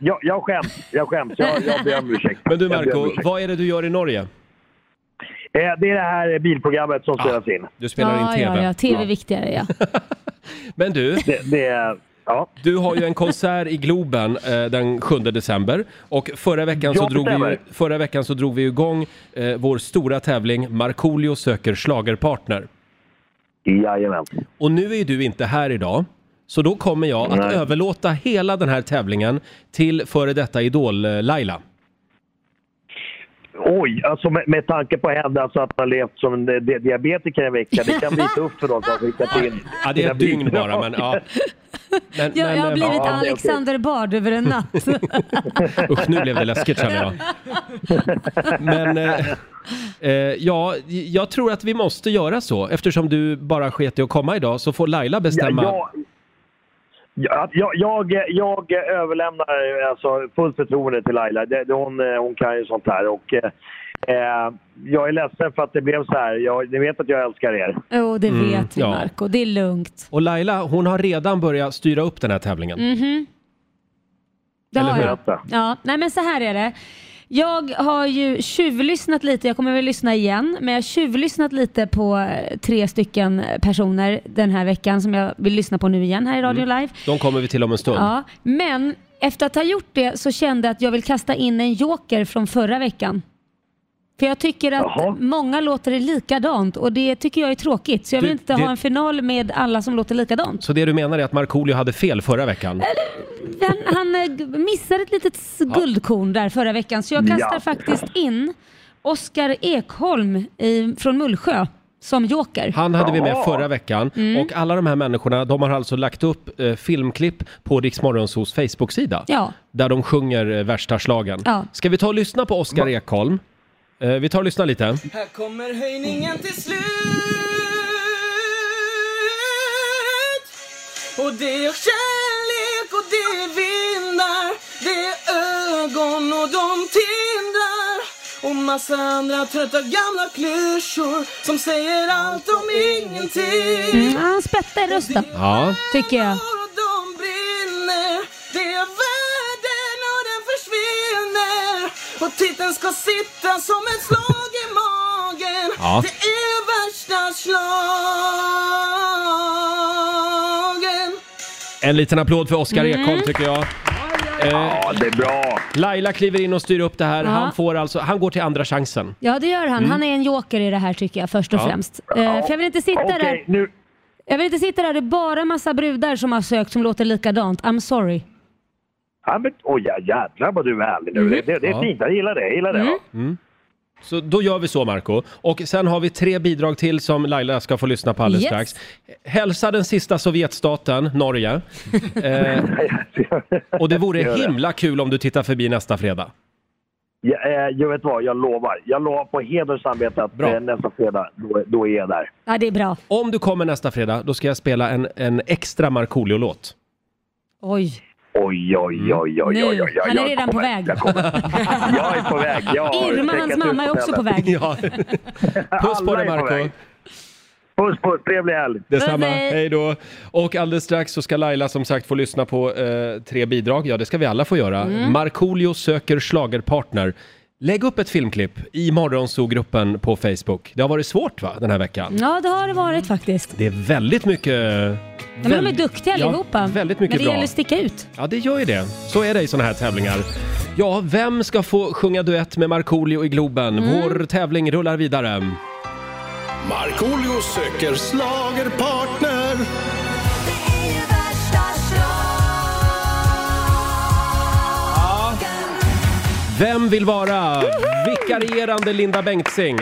I: jag, jag skäms, jag skäms. Jag, jag ber om ursäkt.
A: Men du
I: Jag ber om
A: Marco,
I: ursäkt.
A: vad är det du gör i Norge?
I: Eh, Det är det här bilprogrammet
A: Ah.
I: som spelas in.
A: Du spelar in
C: Ja,
A: TV.
C: ja, ja. TV är viktigare ja.
A: Men du,
I: Det, det är... Ja.
A: du har ju en konsert i Globen eh, den 7 december och förra veckan så,
I: Ja, det
A: drog vi, ju,
I: stämmer.
A: förra veckan så drog vi ju igång eh, vår stora tävling Markoolio söker schlagerpartner.
I: Jajamän.
A: Och nu är ju du inte här idag. Så då kommer jag att
I: Nej.
A: överlåta hela den här tävlingen till före detta eh, Idol-Laila.
I: Oj, alltså med, med tanke på henne, alltså att man levt som en di- diabetiker en vecka. Det kan bli tufft för dem som har skickat in.
A: Ja, det är
I: sina
A: ett dygn
I: bidrag.
A: bara, men ja. Men,
C: Jag, jag
A: men,
C: har
A: eh,
C: blivit
I: det är okej.
C: Alexander Bard över en natt.
A: Usch, nu blev det läskigt känner jag. Men eh, eh, ja, jag tror att vi måste göra så. Eftersom du bara sket i att komma idag så får Laila bestämma.
I: Ja, jag, jag, jag, jag överlämnar eh, alltså fullt förtroende till Laila. Det, det, hon, eh, hon kan ju sånt här. Och, eh, eh, jag är ledsen för att det blev så här. Jag, ni vet att jag älskar er.
C: Jo, det vet vi
A: Mm, ja.
C: Marco. Det är lugnt.
A: Och Laila, hon har redan börjat styra upp den här tävlingen.
C: Mm-hmm. Det
A: Eller
C: har
A: hur?
C: jag. Ja, nej men så här är det. Jag har ju tjuvlyssnat lite, jag kommer väl lyssna igen, men jag har tjuvlyssnat lite på eh, tre stycken personer den här veckan som jag vill lyssna på nu igen här i Radio Live.
A: De kommer vi till om en stund.
C: Ja, men efter att ha gjort det så kände jag att jag vill kasta in en joker från förra veckan. För jag tycker att
I: Jaha.
C: många låter det likadant och det tycker jag är tråkigt. Så jag
A: Du,
C: vill inte
A: det-
C: ha en final med alla som låter likadant.
A: Så det du menar är att Markoolio hade fel förra veckan?
C: Han, han eh, g- missade ett litet s- guldkorn där förra veckan så jag kastar
I: Ja.
C: faktiskt in Oskar Ekholm i, från Mullsjö som joker.
A: Han hade vi med
I: Jaha.
A: förra veckan
C: Mm.
A: och alla de här människorna de har alltså lagt upp eh, filmklipp på Rix Morgonzos Facebook-sida.
C: Ja.
A: Där de sjunger eh, värsta slagen.
C: Ja.
A: Ska vi ta och lyssna på Oskar Ekholm? Eh, vi tar och lyssnar lite.
J: Här kommer höjningen till slut Och det är kärlek och det är vindar Det är ögon och de tindrar Och massa andra trötta gamla klyschor som säger allt om ingenting
C: Mm, han spettar i rösten
A: Ja.
C: tycker jag.
J: och de brinner Det är världen och den försvinner Och titeln ska sitta som ett slag i magen
A: Ja.
J: Det är värsta slagen
A: En liten applåd för Oskar
C: Mm.
A: Ekholm tycker jag. Eh,
I: Ja, det är bra.
A: Laila kliver in och styr upp det här.
C: Ja.
A: Han, får alltså, han går till andra chansen.
C: Ja det gör han. Han
A: Mm.
C: är en joker i det här tycker jag först och främst. Eh, för jag vill inte sitta
I: Okej,
C: där.
I: nu...
C: Jag vill inte sitta där. Det är bara massa brudar som har sökt som låter likadant. I'm sorry.
I: Ja, men, oj, ja, jädrar vad du är ärlig
C: Mm.
I: nu. Det, det, det
A: Ja.
I: är fint. Jag gillar det. Jag gillar det. ja.
A: Så då gör vi så Marco. Och sen har vi tre bidrag till som Laila ska få lyssna på alldeles
C: Yes.
A: strax. Hälsa den sista Sovjetstaten, Norge. Eh, och det vore
I: Gör det.
A: himla kul om du tittar förbi nästa fredag.
I: Jag, eh, jag vet vad, jag lovar. Jag lovar på heder och samvete att
A: Bra.
I: eh, nästa fredag, då, då är jag där.
C: Ja det är bra.
A: Om du kommer nästa fredag, då ska jag spela en, en extra Markoolio-låt.
C: Oj.
I: Oj, oj, oj, oj, oj, oj, oj.
C: Nu. Han är
I: jag
C: redan på
I: kommer,
C: väg.
I: Jag, kommer. jag är på väg. Jag har
C: Irma,
I: checkat
C: hans
I: ut
C: mamma, är också på
I: stället.
C: väg.
A: Ja. Puss
I: Alla
A: på dig
I: är på
A: Marco.
I: väg. Puss, puss. Trevlig helg.
A: Detsamma,
C: Puss, hej.
A: hej då! Och alldeles strax så ska Laila som sagt få lyssna på eh, tre bidrag. Ja, det ska vi alla få göra.
C: Mm.
A: Markoolio söker schlagerpartner. Lägg upp ett filmklipp i Morgonzoo-gruppen på Facebook. Det har varit svårt va, den här veckan?
C: Ja det har det varit faktiskt.
A: Det är väldigt mycket...
C: Ja, men de är
A: väl-
C: duktiga allihopa.
A: Ja, väldigt mycket
C: men det
A: bra.
C: gäller att sticka ut.
A: Ja, det gör ju det. Så är det i såna här tävlingar. Ja, vem ska få sjunga duett med Markoolio i Globen?
C: Mm.
A: Vår tävling rullar vidare.
D: Markoolio söker slagerpartner.
A: Vem vill vara vikarierande Linda Bengtzing?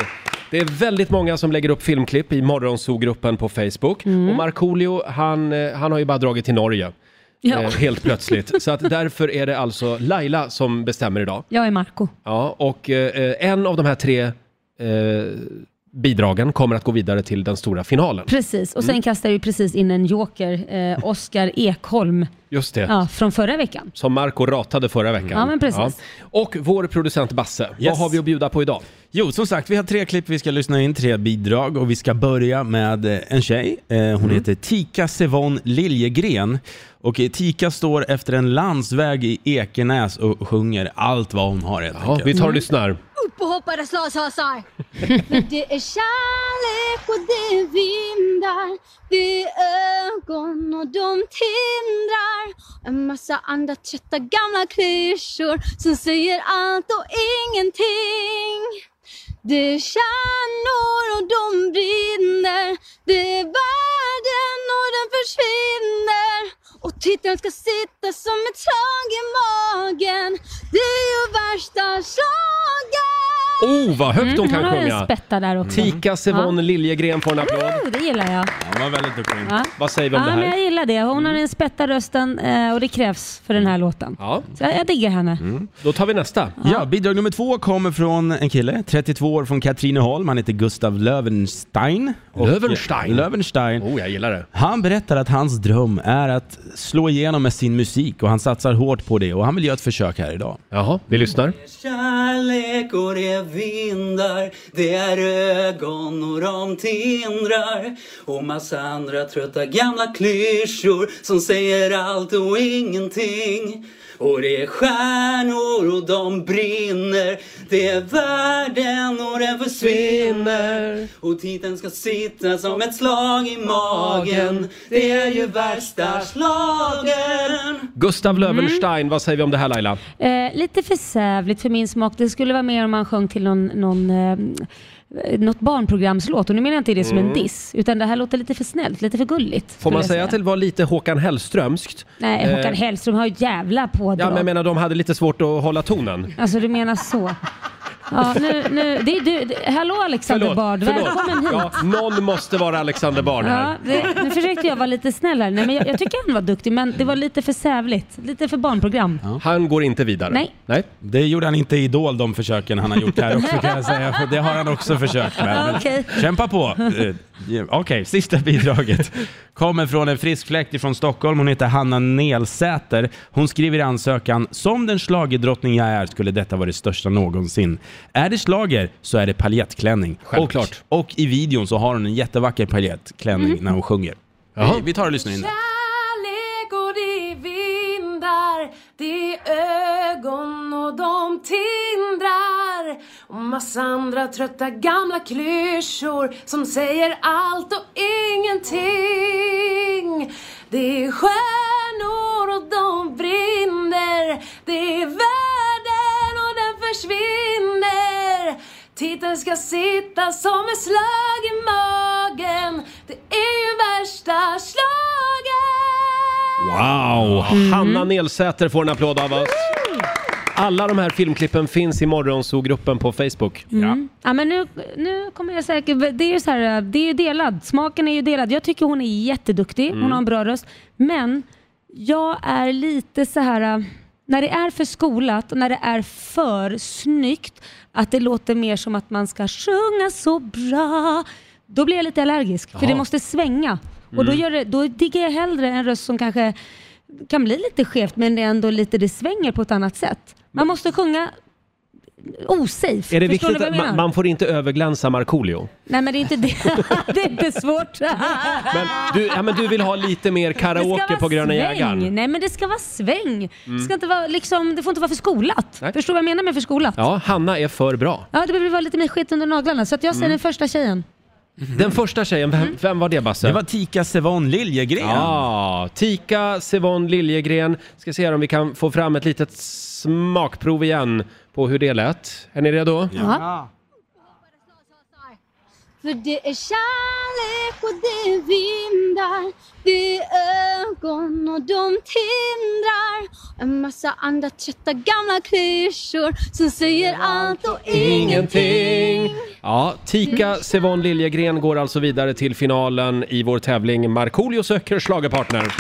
A: Det är väldigt många som lägger upp filmklipp i Morgonzoo-gruppen på Facebook.
C: Mm.
A: Och Markoolio, han, eh, han har ju bara dragit till Norge.
C: Ja.
A: Eh, helt plötsligt. Så att därför är det alltså Laila som bestämmer idag.
C: Jag är Marco.
A: Ja, och eh, eh, en av de här tre eh, bidragen kommer att gå vidare till den stora finalen.
C: Precis, och sen kastar vi precis in en joker, eh, Oskar Ekholm,
A: Just det.
C: ja, från förra veckan.
A: Som Marco ratade förra veckan.
C: Ja, men precis.
A: Och vår producent Basse, vad
F: Yes.
A: har vi att bjuda på idag?
F: Jo, som sagt, vi har tre klipp vi ska lyssna in, tre bidrag och vi ska börja med eh, en tjej. Eh, Hon
A: Mm.
F: heter Tika Sevon Liljegren och eh, Tika står efter en landsväg i Ekenäs och sjunger allt vad hon har helt
A: Ja,
F: enkelt.
A: vi
C: Mm.
A: tar och lyssnar.
K: upp och hoppades loss hasar. Men det är kärlek och det är vindar. Det är ögon och de tindrar. En massa andra trötta gamla klyschor som säger allt och ingenting. Det är kärnor och de brinner. Det är världen och den försvinner. Och titeln ska sitta som ett slag i magen. Det är ju värsta slagen.
A: Oh, vad högt hon
C: Mm. hon
A: kan
C: har en
A: sjunga!
C: spätta där också.
A: Tika Sevon Liljegren får en applåd.
C: Oh, det gillar jag.
F: Hon var väldigt duktig.
C: Ja.
A: Vad säger vi om det
C: Ja, men
A: här? Mm.
C: jag gillar det. Hon har en spätta rösten eh, och det krävs för den här låten.
A: Ja, Mm.
C: Så jag, jag diggar henne.
A: då tar vi nästa.
F: Ja, bidrag nummer två kommer från en kille, 32 år, från Katrineholm. Han heter Gustav Löwenstein. Och- eh,
A: Löwenstein?
F: Löwenstein.
A: Oh, jag gillar det.
F: Han berättar att hans dröm är att slå igenom med sin musik och han satsar hårt på det och han vill göra ett försök här idag.
A: Jaha, vi lyssnar.
J: Kärlek och det är vindar, det är ögon och de tindrar och massa andra trötta gamla klyschor som säger allt och ingenting. Och det är stjärnor och de brinner, det är världen och den försvinner. Och titeln ska sitta som ett slag i magen, det är ju värsta slagen.
C: Mm.
A: Gustav Löwenstein, vad säger vi om det här Laila?
C: Eh, lite för sävligt för min smak. Det skulle vara mer om man sjöng till någon, någon eh, något barnprogramslåt och nu menar jag inte det som en diss utan det här låter lite för snällt, lite för gulligt.
A: Mm. Får
C: skulle
A: man
C: jag
A: säga att det var lite Håkan Hellströmskt?
C: Nej, Håkan Hellström har ju ett jävla pådrag.
A: Ja, men jag menar de hade lite svårt att hålla tonen.
C: Alltså du menar så. Ja, nu, nu, det är du. det- Hallå Alexander Bard, välkommen hit.
A: Ja, någon måste vara Alexander Bard
C: Ja,
A: här.
C: det, nu försökte jag vara lite snäll här. Nej, men jag, jag tycker han var duktig, men det var lite för sävligt. Lite för barnprogram.
A: Han går inte vidare.
C: Nej.
A: Nej.
F: Det gjorde han inte i Idol de försöken han har gjort här också kan jag säga. För Det har han också försökt med. Men
C: Okej.
F: Kämpa på! Eh, Okej, sista bidraget. Kommer från en frisk fläkt ifrån Stockholm. Hon heter Hanna Nelsäter. Hon skriver i ansökan, som den schlagerdrottning jag är skulle detta vara det största någonsin. Är det slager så är det paljettklänning.
A: Självklart.
F: Och, och i videon så har hon en jättevacker paljettklänning när hon sjunger.
A: Jaha.
F: Vi, vi tar och lyssnar in det.
K: Kärlek och det är vindar, det är ögon och de tindrar. Och massa andra trötta gamla klyschor som säger allt och ingenting. Det är stjärnor och de brinner, det är världen och den försvinner. Titeln ska sitta som ett slag i magen. Det är ju värsta slagen.
A: Wow!
C: Mm.
A: Hanna Nelsäter får en applåd av oss. Alla de här filmklippen finns i Morgonzoo-gruppen på Facebook.
C: Ja, men nu, nu kommer jag säkert... Det är ju så här, det är ju delad. Smaken är ju delad. Jag tycker hon är jätteduktig.
A: Mm.
C: Hon har en bra röst. Men jag är lite så här... äh, När det är för skolat och när det är för snyggt, att det låter mer som att man ska sjunga så bra, då blir jag lite allergisk. För det måste svänga. Och
A: Mm.
C: då, gör det, då diggar jag hellre en röst som kanske kan bli lite skevt, men det är ändå lite det svänger på ett annat sätt. Man måste sjunga osafe.
A: Är det
C: Förstår
A: viktigt
C: ni
A: att
C: vad jag menar?
A: man, man får inte överglänsa Markoolio?
C: Nej men det är inte det. Det är inte svårt.
A: Men du, ja, men du vill ha lite mer karaoke på Gröna Jägaren? Mm.
C: Nej men det ska vara sväng. Det, ska inte vara, liksom, det får inte vara för skolat.
A: Nej.
C: Förstår du vad jag menar med för skolat? Ja.
A: Ja, Hanna är för bra.
C: det behöver vara lite mer skit under naglarna. Så att
A: Mm.
C: jag säger den första tjejen.
A: Den första tjejen, vem, vem var det Basse?
F: Mm. Det var Tika Sevon Liljegren.
A: Ja, Tika Sevon Liljegren. Ska se här om vi kan få fram ett litet smakprov igen på hur det lät. Är ni redo?
C: Ja.
K: För det är kärlek och det är vindar. Det är ögon och de tindrar. En massa andra trötta gamla klyschor som säger allt och
A: Ingenting! Ja, Tika Sevon Liljegren går alltså vidare till finalen i vår tävling Markoolio söker schlagerpartner.
F: Mm.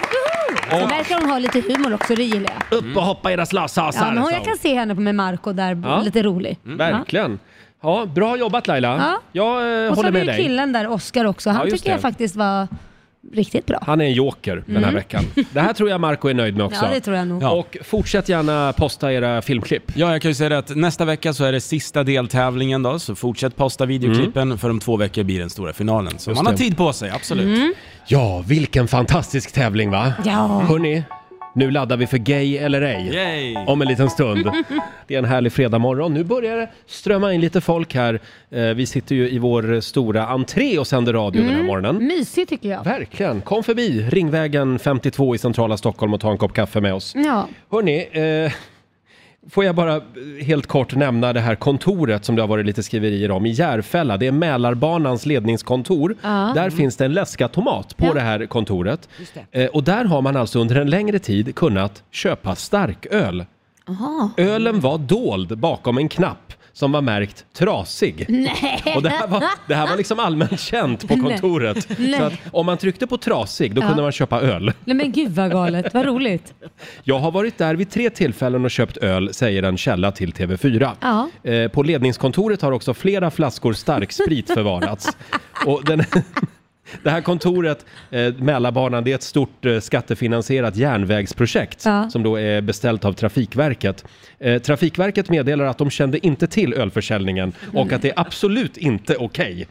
C: Sen verkar hon ha lite humor också, det gillar jag.
A: Upp och hoppa era
C: Ja,
A: slassasar!
C: men hon,
A: sa
C: jag
A: hon.
C: kan se henne med Marco där,
A: liksom. Ja. Mm.
C: lite rolig.
F: Mm.
C: Ja.
A: Verkligen. Ja, bra jobbat Laila.
C: Ja.
A: Jag eh,
C: Och så
A: håller
C: har
A: med
C: vi ju
A: dig.
C: killen där, Oscar också. Han
A: Ja, just
C: tycker jag
A: det.
C: faktiskt var riktigt bra.
A: Han är en joker den här
C: Mm.
A: veckan. Det här tror jag Marco är nöjd med också.
C: Ja, det tror jag nog.
F: Ja.
A: Och fortsätt gärna posta era filmklipp.
F: Ja, jag kan ju säga det att nästa vecka så är det sista deltävlingen då, så fortsätt posta videoklippen
E: Mm.
F: för om två veckor blir den stora finalen. Så
A: Just
F: man har
A: det.
F: tid på sig, absolut.
C: Mm.
A: Ja, vilken fantastisk tävling va?
C: Ja.
A: Hörni, nu laddar vi för Gay eller ej.
F: Yay!
A: Om en liten stund. Det är en härlig fredagmorgon. Nu börjar det strömma in lite folk här. Eh, Vi sitter ju i vår stora entré och sänder radio den
C: Mm.
A: här morgonen.
C: Mysig tycker jag.
A: Verkligen. Kom förbi Ringvägen 52 i centrala Stockholm och ta en kopp kaffe med oss.
C: Ja.
A: Hörni, eh, får jag bara eh, helt kort nämna det här kontoret som det har varit lite skriverier om i Järfälla. Det är Mälarbanans ledningskontor.
C: Ja. Mm.
A: Där finns det en läskatomat på det här kontoret.
B: Just
A: Eh, och där har man alltså under en längre tid kunnat köpa starköl.
C: Aha.
A: Ölen var dold bakom en knapp som var märkt trasig. Och det här, var, det här var liksom allmänt känt på kontoret.
C: Nej.
A: Så att om man tryckte på trasig, då kunde man köpa öl.
C: Nej men gud vad galet, vad roligt.
A: Jag har varit där vid tre tillfällen och köpt öl, säger en källa till TV4.
C: Ja.
A: Eh, på ledningskontoret har också flera flaskor starksprit förvarats. och den, det här kontoret, eh, Mälarbanan, det är ett stort eh, skattefinansierat järnvägsprojekt
C: Ja.
A: som då är beställt av Trafikverket. Eh, Trafikverket meddelar att de kände inte till ölförsäljningen och att det är absolut inte okej.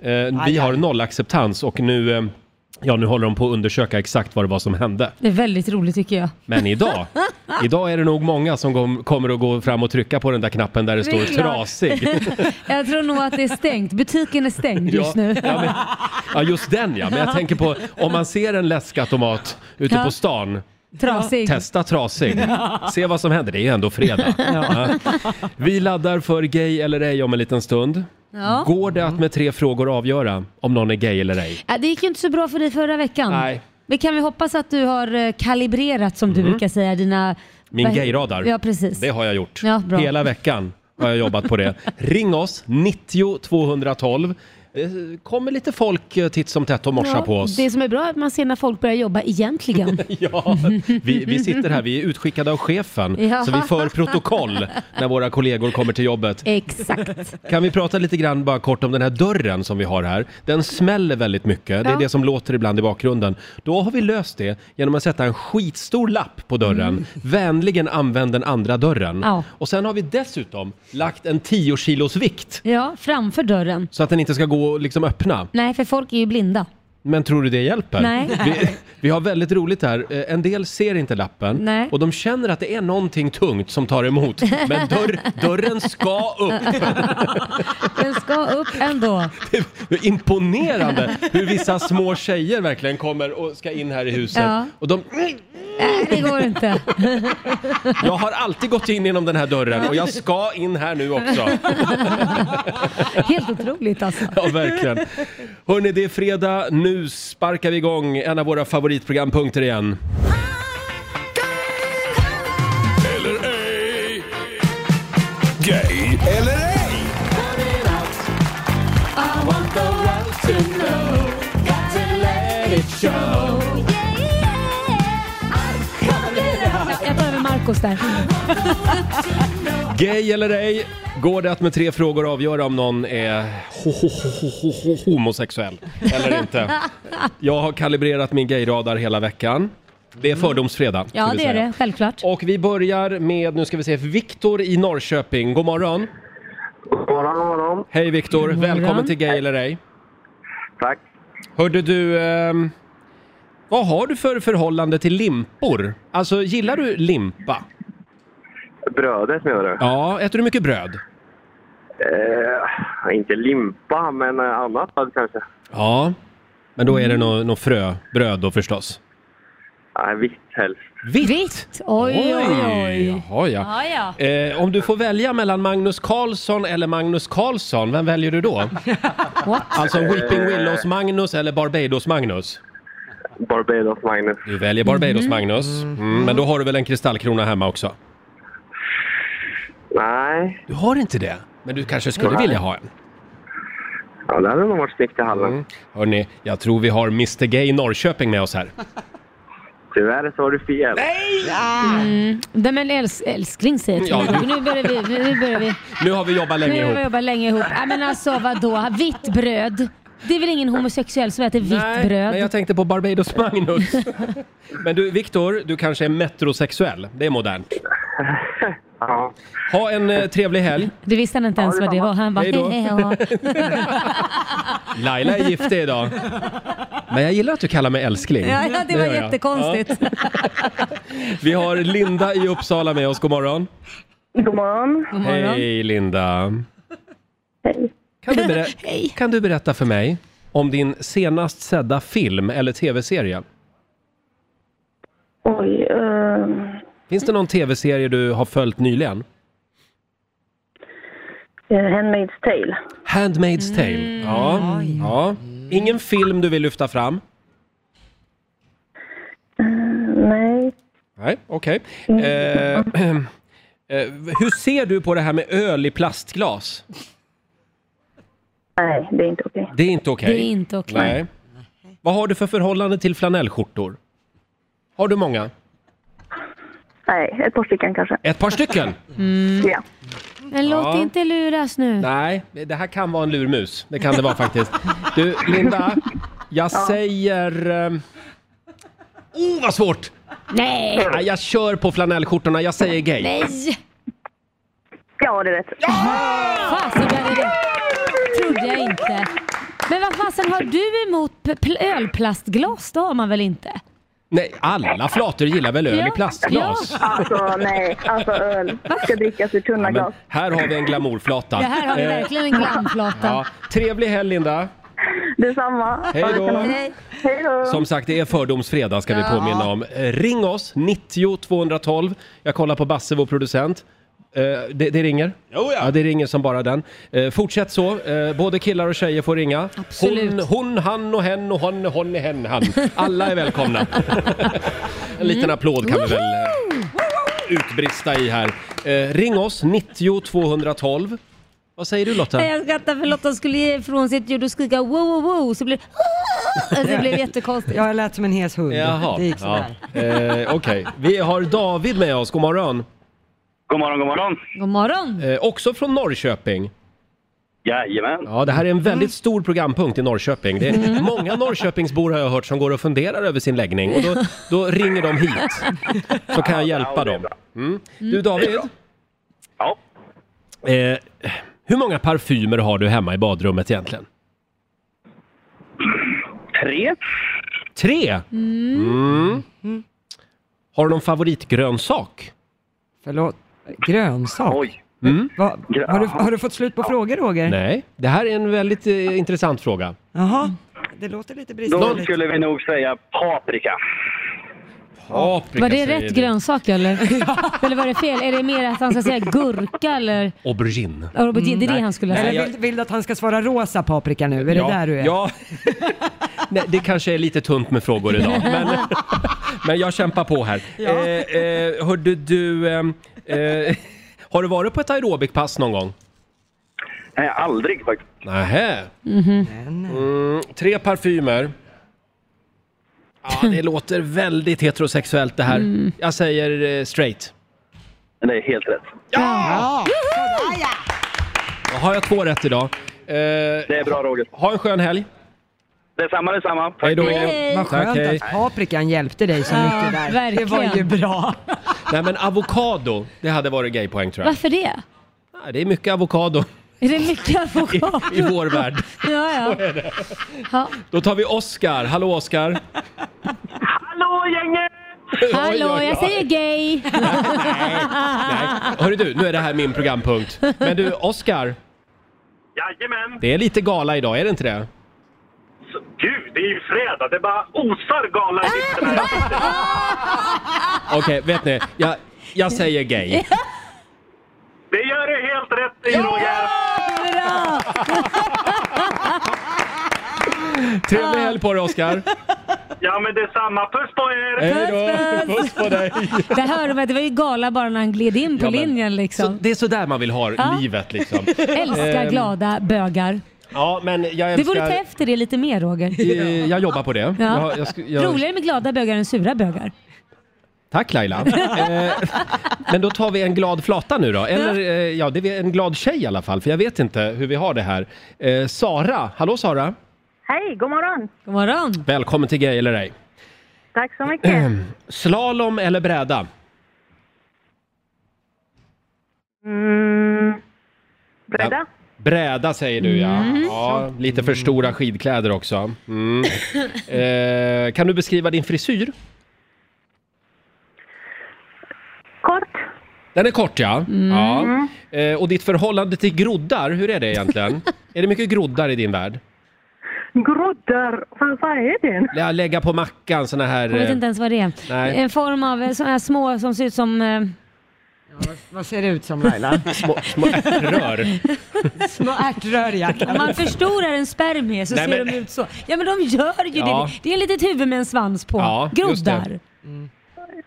A: Eh, vi har noll acceptans och nu, eh, ja, nu håller de på att undersöka exakt vad det var som hände.
C: Det är väldigt roligt tycker jag.
A: Men idag, idag är det nog många som kom, kommer att gå fram och trycka på den där knappen där det
C: Det
A: står
C: är klart.
A: trasig.
C: Jag tror nog att det är stängt, butiken är stängd just nu.
A: ja, men, ja, just den ja. Men jag tänker på om man ser en läskautomat ute
C: Ja.
A: på stan.
C: Trasig.
A: Testa trasig. Se vad som händer. Det är ju ändå fredag. Ja. Vi laddar för gay eller ej om en liten stund.
C: Ja.
A: Går det att med tre frågor avgöra om någon är gay eller ej?
C: Ja, Äh, det gick ju inte så bra för dig förra veckan.
A: Nej. Mm.
C: Men kan vi hoppas att du har eh, kalibrerat som du brukar säga dina...
A: Min
C: vad-
A: gayradar.
C: Ja precis.
A: Det har jag gjort.
C: Ja, bra.
A: Hela veckan har jag jobbat på det. Ring oss, 90 212. Det kommer lite folk eh, titt som tätt och morsar
C: ja,
A: på oss.
C: Det som är bra är att man ser när folk börjar jobba egentligen.
A: Ja, vi, vi sitter här, vi är utskickade av chefen,
C: Ja.
A: så vi för protokoll när våra kollegor kommer till jobbet.
C: Exakt.
A: Kan vi prata lite grann bara kort om den här dörren som vi har här? Den smäller väldigt mycket, det är
C: Ja.
A: det som låter ibland i bakgrunden. Då har vi löst det genom att sätta en skitstor lapp på dörren. Vänligen använd den andra dörren.
C: Mm. Ja.
A: Och sen har vi dessutom lagt en 10 kilos vikt
C: Ja, framför dörren.
A: så att den inte ska gå att liksom öppna.
C: Nej, för folk är ju blinda.
A: Men tror du det hjälper?
C: Nej.
A: Vi, vi har väldigt roligt här. Eh, En del ser inte lappen
C: Nej.
A: och de känner att det är någonting tungt som tar emot. Men dörr, dörren ska upp.
C: Den ska upp ändå.
A: Det är imponerande hur vissa små tjejer verkligen kommer och ska in här i huset.
C: Ja.
A: Och de,
C: Nej, det går inte.
A: jag har alltid gått in genom den här dörren och jag ska in här nu också.
C: Helt otroligt alltså.
A: Ja, verkligen. Hörni, det är fredag. Nu sparkar vi igång en av våra favoritprogrampunkter igen.
D: Eller ej. Gay eller ej.
C: Jag tar över Marcos där.
A: Gay eller ej? Går det att med tre frågor avgöra om någon är ho- ho- ho- ho- ho- ho- homosexuell eller inte? Jag har kalibrerat min gayradar hela veckan. Det är fördomsfredag. ska
C: Ja,
A: vi
C: det är
A: säga.
C: det. Självklart.
A: Och vi börjar med, nu ska vi se, Viktor i Norrköping. God morgon!
I: God morgon, god morgon.
A: Hej Viktor,
C: morgon.
A: välkommen till Gay eller ej.
I: Tack.
A: Hörde du, ehm, vad har du för förhållande till limpor? Alltså, gillar du limpa?
I: Brödet menar du?
A: Ja, äter du mycket bröd?
I: Eh, inte limpa, men eh, annat kanske.
C: Mm.
A: Ja, men då är det något nå fröbröd då förstås.
L: Nej, vitt helst.
A: Vitt?
C: Oj, oj, oj.
A: Jaha, ja.
C: Ja, ja.
A: Eh, om du får välja mellan Magnus Carlsson eller Magnus Karlsson, vem väljer du då? Alltså Weeping Willows-Magnus eller Barbados-Magnus?
L: Barbados-Magnus.
A: Du väljer
C: Mhm.
A: Barbados-Magnus. Mm, men då har du väl en kristallkrona hemma också?
L: Nej.
A: Du har inte det? Men du kanske skulle
L: Nej.
A: vilja ha en?
L: Ja, det hade nog varit snyggt i hallen.
A: Hörni, jag tror vi har Mr Gay Norrköping med oss här.
L: Tyvärr så har du fel.
A: Nej!
C: Mm. Nej, men äls- älskling säger jag
A: Ja,
C: till
A: du-
C: mig. Nu börjar vi. Nu börjar vi.
A: Nu har vi jobbat länge
C: nu har
A: ihop.
C: vi jobbat länge ihop. Nej, men alltså vadå? Vitt bröd? Det är väl ingen homosexuell som äter vitt bröd?
A: men jag tänkte på Barbados Magnus. men du, Viktor, du kanske är metrosexuell. Det är modernt.
L: Ja.
A: Ha en eh, trevlig helg.
C: Det visste han inte ens vad det var. Han bara
A: Hej då.
C: hej, hej, ja.
A: Laila är giftig idag. Men jag gillar att du kallar mig älskling.
C: Ja, ja, det var
A: gör jag.
C: jättekonstigt.
A: Ja. Vi har Linda i Uppsala med oss. God morgon.
M: God morgon.
A: Hej Linda. Kan du, berä- kan du berätta för mig om din senast sedda film eller tv-serie?
M: Oj. ehm,
A: Finns det någon tv-serie du har följt nyligen?
M: eh, Handmaid's Tale.
C: Mm.
A: Handmaid's Tale. Ja. ja. Ingen film du vill lyfta fram?
M: Eh, Nej.
A: Nej, okej. Eh, eh, hur ser du på det här med öl i plastglas?
M: Nej, det är inte okej.
A: Det är inte okej.
C: Det är inte okej.
A: Nej. Vad har du för förhållande till flanellskjortor? Har du många?
M: Nej, ett par stycken kanske.
A: Ett par stycken?
M: Ja.
C: Men låt
A: Ja.
C: inte luras nu.
A: Nej, det här kan vara en lurmus. Det kan det vara faktiskt. Du, Linda. Jag säger... eh, Oh, vad svårt!
C: Nej!
A: Nej, jag kör på flanellskjortorna. Jag säger gay.
C: Nej!
M: ja, det är rätt.
C: Fasen vad är det? Trodde jag inte. Men vad fasen har du emot p- pl- ölplastglas? Det har man väl inte?
A: Nej, alla flator gillar väl öl i
C: Ja.
A: plastglas?
M: Alltså nej, alltså öl ska drickas ur tunna
A: Ja, men
M: glas.
A: här har vi en glamourflata.
C: Det här har vi
A: Eh,
C: verkligen en glamflata.
A: ja. Trevlig helg Linda!
M: Detsamma.
A: Hej då!
M: Hej då.
A: Som sagt, det är fördomsfredag ska vi påminna om. Eh, Ring oss, 90 212. Jag kollar på Basse, vår producent. Eh, det, det ringer.
F: Jo, ja.
A: Ja, det ringer som bara den. Eh, fortsätt så. Eh, både killar och tjejer får ringa.
C: Absolut.
A: Hon, hon, han och hen och hon, hon, hen, han. Alla är välkomna. en liten applåd kan vi väl eh, utbrista i här. Eh, ring oss, 90 212. Vad säger du Lotta?
C: Nej,
B: Eh,
C: jag skrattar för Lotta skulle ge ifrån sitt ljud och skrika wow wow wow så blev det alltså, det blev jättekonstigt.
B: Jag lät som en hes hund.
A: Jaha.
B: Det gick
A: ja.
B: sådär.
A: eh, Okej, vi har David med oss. God morgon.
L: God morgon, god morgon.
C: God morgon.
A: Eh, också från Norrköping.
L: Jajamän.
A: Ja, det här är en väldigt stor programpunkt i Norrköping. Det är Många Norrköpingsbor har jag hört som går och funderar över sin läggning och då, då ringer de hit. Så kan jag hjälpa
L: Ja, det är
A: dem.
L: bra.
A: Mm. Du David,
L: Ja.
A: eh, hur många parfymer har du hemma i badrummet egentligen?
L: Tre.
A: Tre? Mm. Har du någon favoritgrönsak?
B: Förlåt. Grönsak?
L: Oj.
B: Va,
L: Grön-
B: har, du, har du fått slut på frågor Roger?
A: Nej, det här är en väldigt eh, intressant fråga.
B: Jaha. Mm. Det låter lite
L: Då
B: bristfälligt.
L: skulle vi nog säga paprika.
A: Paprika,
C: Var det
A: säger
C: rätt
A: du.
C: grönsak eller? eller var det fel? Är det mer att han ska säga gurka eller?
A: Aubergine.
C: Ja, Robert, det är
A: Mm,
C: det han skulle säga.
B: Eller vill, vill du att han ska svara rosa paprika nu? Är det där du är?
A: Ja. Nej, det kanske är lite tunt med frågor idag, men, men jag kämpar på här. Eh, eh, hörde du, ehm, eh, har du varit på ett aerobikpass någon gång?
L: Nej, aldrig faktiskt.
A: Nähä. Mm, tre parfymer. Ja, det låter väldigt heterosexuellt det här. Jag säger eh, straight.
L: Men det är helt rätt.
A: Då har jag två rätt idag. Eh,
L: Det är bra, Roger.
A: ha en skön helg.
L: Detsamma, detsamma. Tack.
A: Hej då.
C: Hej.
B: Vad skönt
A: Tack, hej.
B: att paprikan hjälpte dig så mycket där.
C: verkligen.
B: Det var ju bra.
A: Nej men avokado, det hade varit gaypoäng tror jag.
C: Varför det?
A: Nej, det är mycket avokado
C: Är det mycket avokado?
A: i vår värld.
C: Ja, ja. Ja.
A: Då tar vi Oscar. Hallå Oscar!
H: Hallå gänget!
C: Hallå, jag säger gay.
A: Nej. Hörru du, nu är det här min programpunkt. Men du Oscar,
H: Jajamän!
A: det är lite gala idag, är det inte det?
N: så- Gud, det är ju fredag. Det bara osar galna vitsen här.
A: Okej, vet ni? Jag, jag säger gay.
N: Det gör du helt rätt i, Roger.
C: Bra!
A: Trevlig helg på dig Oskar.
N: Ja, men detsamma. Puss på er!
L: Eh.
A: Hej då! Puss på dig!
C: Där hörde man, det var ju gala bara när han gled in på
A: Ja, men-
C: linjen liksom.
A: Det är sådär man vill ha
C: Ja.
A: livet liksom.
C: Älskar
A: Ehm,
C: glada bögar.
A: Ja, men jag
C: Du borde
A: älskar...
C: ta efter det lite mer Roger.
A: Eh, Jag jobbar på det.
C: Ja.
A: Jag, jag, sk- jag...
C: Roligare med glada bögar än sura bögar.
A: Tack Laila. Eh, men då tar vi en glad flata nu då. Eller eh, ja, det är en glad tjej i alla fall. För jag vet inte hur vi har det här. Eh, Sara, hallå Sara.
M: Hej, god morgon.
C: God morgon.
A: Välkommen till Gay eller ej.
M: Tack så mycket.
A: Slalom eller bräda?
M: Mm. Bredda?
A: Bräda säger du ja.
M: Mm.
A: ja lite för stora skidkläder också. Mm. Eh, kan du beskriva din frisyr?
M: Kort.
A: Den är kort ja. ja. Eh, och ditt förhållande till groddar, hur är det egentligen? är det mycket groddar i din värld?
M: Groddar. Vad vad är det?
A: Lä- Lägga på mackan såna här...
C: Jag vet
A: eh,
C: inte ens vad det är.
A: Nej.
C: En form av eh, såna här små som ser ut som... eh,
B: Vad ser det ut som Laila?
A: små, små ärtrör.
B: Små ärtrör ja.
C: Om man förstorar en spermie så
B: Nej,
C: ser
B: men-
C: de ut så. Ja men de gör ju
B: Ja.
C: det. Det är ett litet huvud med en svans på.
A: Ja, just det.
C: Groddar.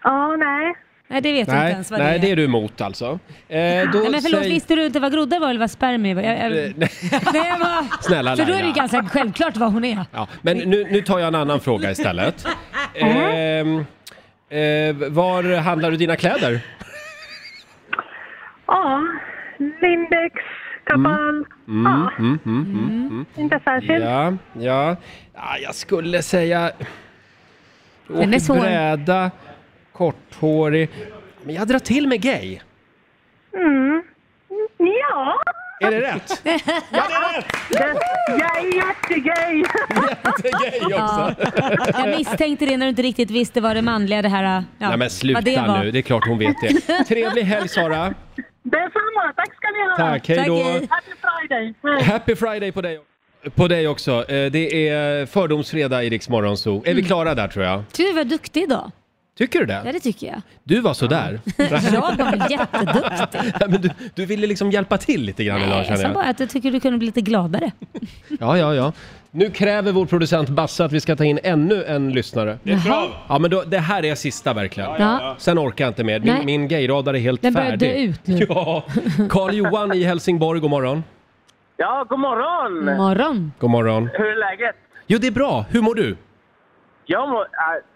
M: Ja, nej.
C: Nej, det vet jag inte
A: Nej,
C: ens vad
A: nej,
C: det
A: det
C: är.
A: är du emot alltså. Eh, då
C: Nej, men förlåt,
A: säg-
C: visste du inte vad groddar var eller vad spermie var? Jag, jag...
A: Eh, nej.
C: Nej, jag var...
A: Snälla
C: För då är det
A: Laila.
C: ju ganska självklart vad hon är.
A: Ja, men nu, nu tar jag en annan fråga istället. Ehm, eh, var handlar du dina kläder?
M: Ja, Lindex, Kapal.
A: Mm, mm, mm, mm, mm.
M: Inte särskilt.
A: Ja, ja. ja, jag skulle säga...
M: Den är svår.
A: Bräda, korthårig. Men jag drar till med gay.
M: Mm. Ja.
A: Är det rätt? Ja, det är rätt!
M: Jag är jättegay.
A: Jättegay
C: Ja. Jag misstänkte det när du inte riktigt visste vad det manliga det här... Ja,
A: Eh. Nej men
C: vad det
A: sluta
C: var.
A: nu, det är klart hon vet det. Trevlig helg Sara!
M: Detsamma. Tack ska ni ha.
A: Tack, hej Tack, då. hej.
M: Happy Friday.
A: Happy Friday på dig, på dig också. Eh, Det är fördomsfredag i Rix Morgon Zoo. Är vi klara där tror jag?
C: Du var duktig idag.
A: Tycker du
C: Mm. Ja,
A: det?
C: det tycker jag.
A: Du var sådär.
C: Jag var jätteduktig.
A: Nej, Men du, du ville liksom hjälpa till lite grann idag
C: Jag
A: känner
C: sa
A: jag.
C: bara att jag tycker du kunde bli lite gladare.
A: Ja, ja, ja. Nu kräver vår producent Basse att vi ska ta in ännu en lyssnare.
C: Det är ett krav.
A: Ja, men då, det här är sista verkligen.
C: Ja, ja, ja.
A: Sen orkar jag inte mer. Min,
C: Nej.
A: min gayradar är helt
C: Den börjar
A: färdig.
C: dö ut nu.
A: Ja. Karl-Johan i Helsingborg, god morgon.
O: Ja, god morgon!
C: Morgon.
A: God morgon.
O: Hur är läget?
A: Jo, det är bra. Hur mår du?
O: Jag mår äh,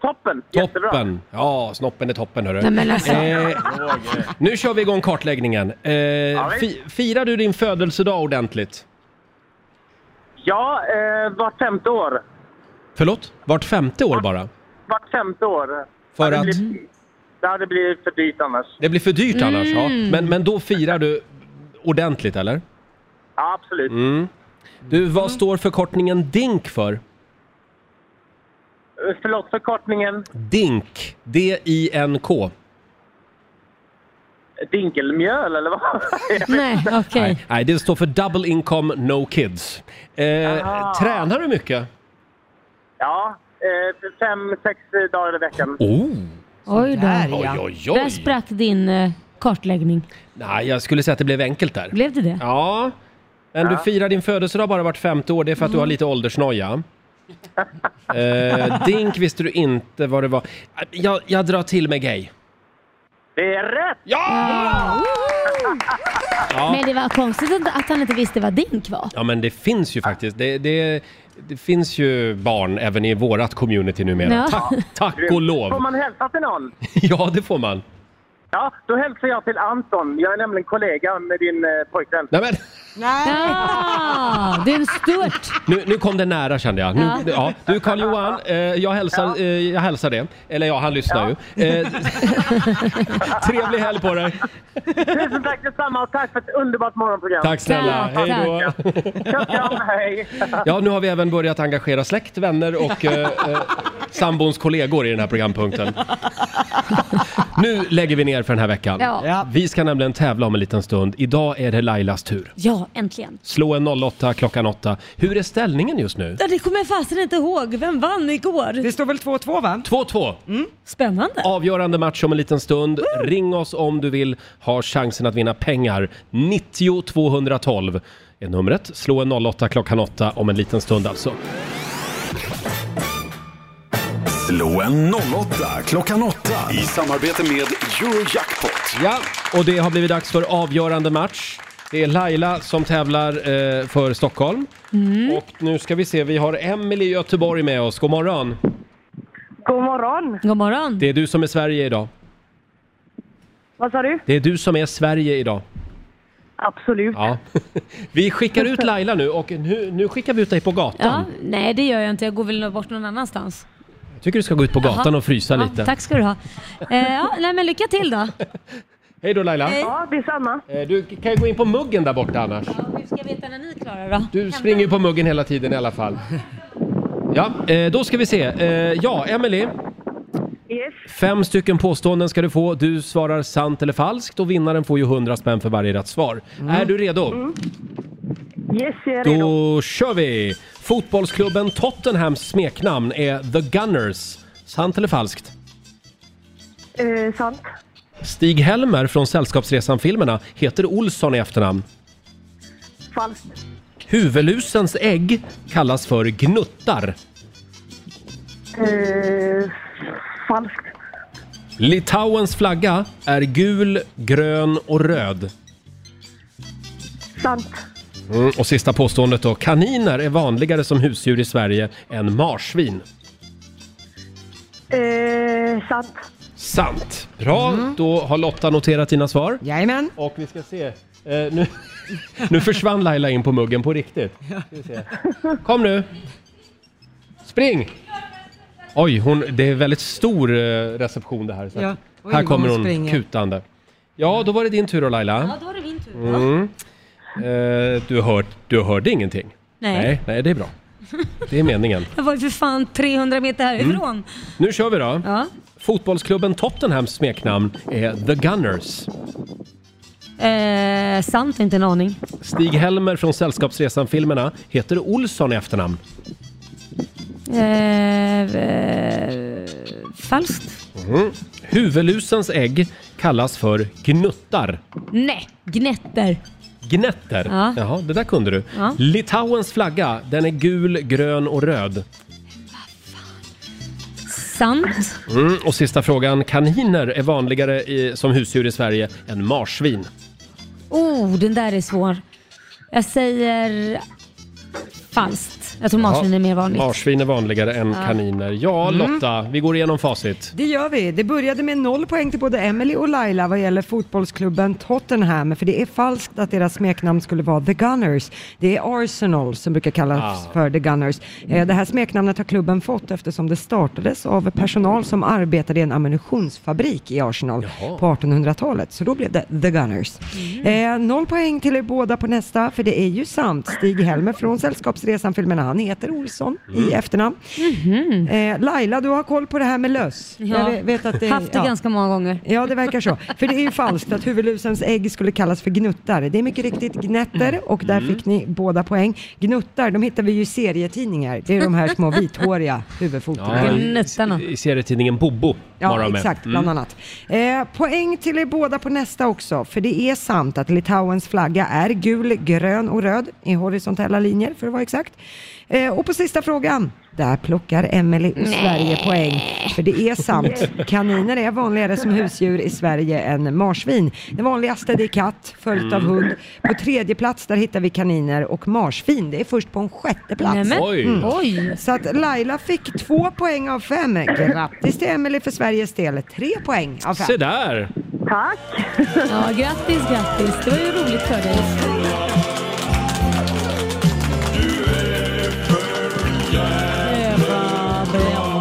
O: toppen, jättebra.
A: Toppen! Ja, snoppen är toppen hörru.
O: Nej, men alltså.
A: Eh, nu kör vi igång kartläggningen. Eh, fi- firar du din födelsedag ordentligt?
O: Ja, eh, vart femte år.
A: Förlåt? Vart femte år bara?
O: Vart femte år.
A: För
O: det
A: att-
O: Blir, det hade blivit för dyrt annars.
A: Det blir för dyrt annars, ja.
O: Mm.
A: Men, men då firar du ordentligt eller?
O: Ja, absolut.
A: Mm. Du, vad står förkortningen DINK för?
O: Eh, Förlåt förkortningen.
A: DINK. D-I-N-K.
O: Dinkelmjöl eller vad?
C: Nej, okej.
A: Nej, nej, det står för Double Income No Kids. Eh,
O: Jaha.
A: tränar du mycket?
O: Ja, eh, för fem, sex eh, dagar i veckan.
A: Oh!
C: Oj då.
A: Sådär, ja. Oj, oj, oj.
C: Där sprack din eh, kartläggning.
A: Nej, jag skulle säga att det blev enkelt där.
C: Blev det det?
A: Ja, men du
C: Ja.
A: firar din födelsedag bara vart femte år. Det är för att du har lite åldersnoja. eh, dink visste du inte vad det var. Jag, jag drar till med gay.
O: Det är rätt!
A: Ja! Ja.
C: Men det var konstigt att- att han inte visste vad dink var.
A: ja, men det finns ju faktiskt. Det, det, det finns ju barn även i vårat community numera.
O: Ja.
A: Tack, tack och
O: Får
A: lov.
O: man hälsa till någon?
A: Ja, det får man.
O: Ja, då hälsar jag till Anton. Jag är nämligen kollega med din eh, pojkvän.
A: Nej, men,
C: Ja, det är en stört.
A: nu, nu kom det nära kände jag. Nu,
C: Ja.
A: ja. Du Carl-Johan, eh, jag, hälsar, eh, jag hälsar det. Eller ja, han lyssnar ju. Eh, trevlig helg på dig!
O: Tusen tack detsamma och tack för ett underbart morgonprogram.
A: Tack snälla, hej då!
O: Kram, kram, hej.
A: Ja, nu har vi även börjat engagera släkt, vänner och eh, eh, sambons kollegor i den här programpunkten. Nu lägger vi ner för den här veckan.
C: Ja. Ja.
A: Vi ska nämligen tävla om en liten stund. Idag är det Lailas tur.
C: Ja, äntligen.
A: Slå en 08 klockan 8. Hur är ställningen just nu?
C: Ja, det kommer jag fasen inte ihåg. Vem vann igår? Det
B: står väl 2-2 va?
A: 2-2.
C: Spännande.
A: Avgörande match om en liten stund. Ring oss om du vill ha chansen att vinna pengar. 90 212 är numret. Slå en 08 klockan 8 om en liten stund alltså.
D: Slå en 08 klockan 8 i samarbete med Eurojackpot.
A: Ja, och det har blivit dags för avgörande match. Det är Laila som tävlar eh, för Stockholm.
C: Mm.
A: Och nu ska vi se, vi har Emelie i Göteborg med oss. God morgon.
M: God morgon.
C: God morgon.
A: Det är du som är Sverige idag.
M: Vad sa du?
A: Det är du som är Sverige idag.
M: Absolut.
A: Ja. Vi skickar ut Laila nu och nu, nu skickar vi ut dig på
C: Ja,
A: gatan.
C: nej det gör jag inte. Jag går väl bort någon annanstans.
A: Jag tycker du ska gå ut på gatan
C: Jaha.
A: och frysa
C: Ja,
A: lite.
C: Tack ska du ha. Eh, ja, nej, men lycka till då.
A: Hej då Laila.
C: Ja,
M: detsamma.
A: Eh, Du kan ju gå in på muggen där borta annars.
C: Hur ska jag veta när ni klarar då?
A: Du springer ju på muggen hela tiden i alla fall. Ja, eh, då ska vi se. Eh, Ja, Emily.
M: Yes.
A: Fem stycken påståenden ska du få. Du svarar sant eller falskt och vinnaren får ju 100 spänn för varje rätt svar.
M: Mm.
A: Är du redo?
M: Yes, jag är redo.
A: Då kör vi! Fotbollsklubben Tottenhams smeknamn är The Gunners. Sant eller falskt?
M: Eh, sant.
A: Stig-Helmer från Sällskapsresan-filmerna heter Olsson i efternamn.
M: Falskt.
A: Huvudlusens ägg kallas för gnuttar.
M: Eh, falskt.
A: Litauens flagga är gul, grön och röd.
M: Sant.
A: Mm, och sista påståendet då. Kaniner är vanligare som husdjur i Sverige än marsvin.
M: Eh, sant.
A: Sant. Bra, då har Lotta noterat dina svar.
B: Jajamän.
A: Och vi ska se. Eh, nu, nu försvann Laila in på muggen på riktigt. Kom nu! Spring! Oj, hon, det är väldigt stor eh, reception det här. Så att-
B: Ja. Oj,
A: här
B: vad
A: kommer
B: hon
A: hon
B: springer.
A: kutande. Ja, då var det din tur då Laila.
C: Ja, då är det min tur.
A: Mm. Eh, du, hör, du hörde ingenting?
C: Nej.
A: nej. Nej, det är bra. Det är meningen.
C: Jag var ju för fan 300 meter härifrån.
A: Nu kör vi då.
C: Ja.
A: Fotbollsklubben Tottenhams smeknamn är The Gunners.
C: Eh, sant, inte en aning.
A: Stig-Helmer från Sällskapsresan-filmerna heter Olsson i efternamn.
C: Eh, eh, falskt?
A: Mm. Huvudlusens ägg kallas för gnuttar.
C: Nej, gnetter.
A: Gnetter?
C: Ja.
A: Jaha, det där kunde du.
C: Ja.
A: Litauens flagga, den är gul, grön och röd.
C: Sant.
A: Mm. Och sista frågan. Kaniner är vanligare i, som husdjur i Sverige än marsvin.
C: Oh, den där är svår. Jag säger falskt. Jag tror marsvin är mer vanligt.
A: Marsvin är vanligare än
B: Ja.
A: kaniner. Ja,
B: Mm.
A: Lotta, vi går igenom facit.
B: Det gör vi. Det började med noll poäng till både Emily och Laila vad gäller fotbollsklubben Tottenham, för det är falskt att deras smeknamn skulle vara The Gunners. Det är Arsenal som brukar kallas
E: Ah.
B: för The Gunners. Eh, Det här smeknamnet har klubben fått eftersom det startades av personal som arbetade i en ammunitionsfabrik i Arsenal på 1800-talet, så då blev det The Gunners. Eh, noll poäng till er båda på nästa, för det är ju sant. Stig-Helmer från Sällskapsresan-filmerna, han heter Olsson i efternamn. Eh, Laila, du har koll på det här med löss.
C: Ja.
B: Jag ve- vet att det,
C: Haft det
B: ja.
C: ganska många gånger.
B: Ja, det verkar så. För det är ju falskt att huvudlusens ägg skulle kallas för gnuttar. Det är mycket riktigt gnetter och där
E: Mm.
B: fick ni båda poäng. Gnuttar, de hittar vi ju i serietidningar. Det är de här små vithåriga huvudfotorna.
A: Ja, i, I serietidningen Bobo var
B: Ja,
A: de med.
B: exakt,
A: Mm.
B: bland annat. Eh, poäng till er båda på nästa också, för det är sant att Litauens flagga är gul, grön och röd i horisontella linjer för att vara exakt. Eh, och på sista frågan, där plockar Emily och Sverige poäng, för det är sant. Kaniner är vanligare som husdjur i Sverige än marsvin. Det vanligaste det är katt, följt av
E: Mm.
B: hund. På tredje plats där hittar vi kaniner och marsvin. Det är först på en sjätte plats.
E: Nämen. Oj.
C: Mm.
E: Oj.
B: Så att Laila fick två poäng av fem. Grattis till Emelie för Sveriges del. Tre poäng av fem.
A: Se där!
B: Tack!
C: Ja, grattis, grattis. Det var ju roligt för dig.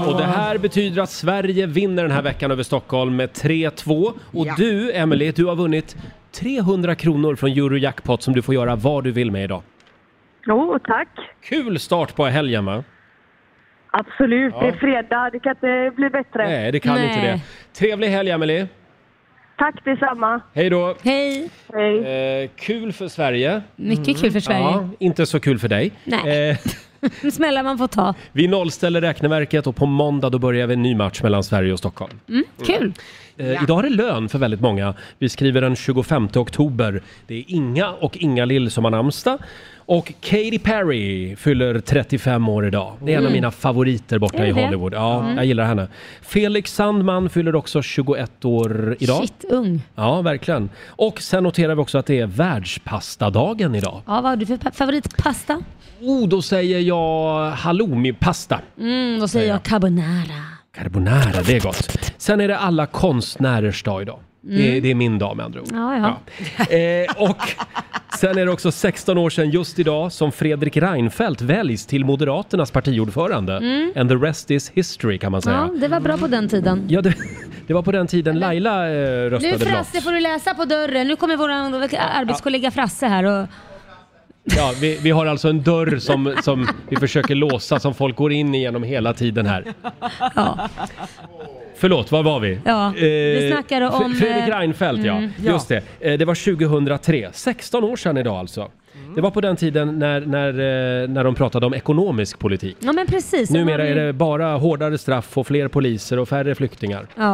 A: Och det här betyder att Sverige vinner den här veckan över Stockholm med 3-2. Och
B: Ja.
A: du, Emelie, du har vunnit 300 kronor från Eurojackpot som du får göra vad du vill med idag.
M: Jo, tack.
A: Kul start på helgen va?
M: Absolut.
A: Ja.
M: Det är fredag. Det kan inte bli bättre.
A: Nej, det kan inte det. Trevlig helg Emelie!
M: Tack detsamma.
A: Hej då!
C: Hej.
A: Eh, kul för Sverige.
C: Mycket kul för Sverige.
A: Ja, inte så kul för dig.
C: Nej.
A: Eh,
C: Smällar man får ta.
A: vi nollställer räkneverket och på måndag då börjar vi en ny match mellan Sverige och Stockholm.
C: Mm, kul.
A: Eh, Idag är det lön för väldigt många. Vi skriver den 25 oktober. Det är Inga och Inga-Lill som har namnsdag. Och Katy Perry fyller 35 år idag. Det är en av
F: Mm.
A: mina favoriter borta
F: Är
A: i
F: det det?
A: Hollywood. Ja,
F: Mm.
A: jag gillar henne. Felix Sandman fyller också 21 år idag.
C: Shit, ung.
A: Ja, verkligen. Och sen noterar vi också att det är världspastadagen idag.
C: Ja, vad har du för pa- favoritpasta?
A: Oh, då säger jag halloumipasta.
C: Mm, då säger jag carbonara.
A: Carbonara, det är gott. Sen är det alla konstnärers dag idag.
C: Mm.
A: Det, är, det är min dag med andra ord.
C: Ja, ja.
A: Eh, och sen är det också 16 år sedan just idag som Fredrik Reinfeldt väljs till Moderaternas partiordförande.
C: Mm.
A: And the rest is history kan man säga.
C: Ja, det var bra på den tiden.
A: Ja, det, det var på den tiden Laila eh,
C: Nu
A: Mm. röstade blått.
C: Frasse får du läsa på dörren. Nu kommer vår arbetskollega Frasse här och...
A: Ja, vi, vi har alltså en dörr som, som vi försöker låsa som folk går in igenom hela tiden här.
C: Ja.
A: Förlåt, var var vi?
C: Ja, vi
A: Eh,
C: snackade
A: Fre-
C: om,
A: Fredrik
C: eh,
A: Reinfeldt,
C: mm.
A: ja. Just det. Eh, Det var 2003, 16 år sedan idag alltså. Det var på den tiden när, när, eh, när de pratade om ekonomisk politik.
C: Ja men precis.
A: Numera är det bara hårdare straff och fler poliser och färre flyktingar.
C: Ja.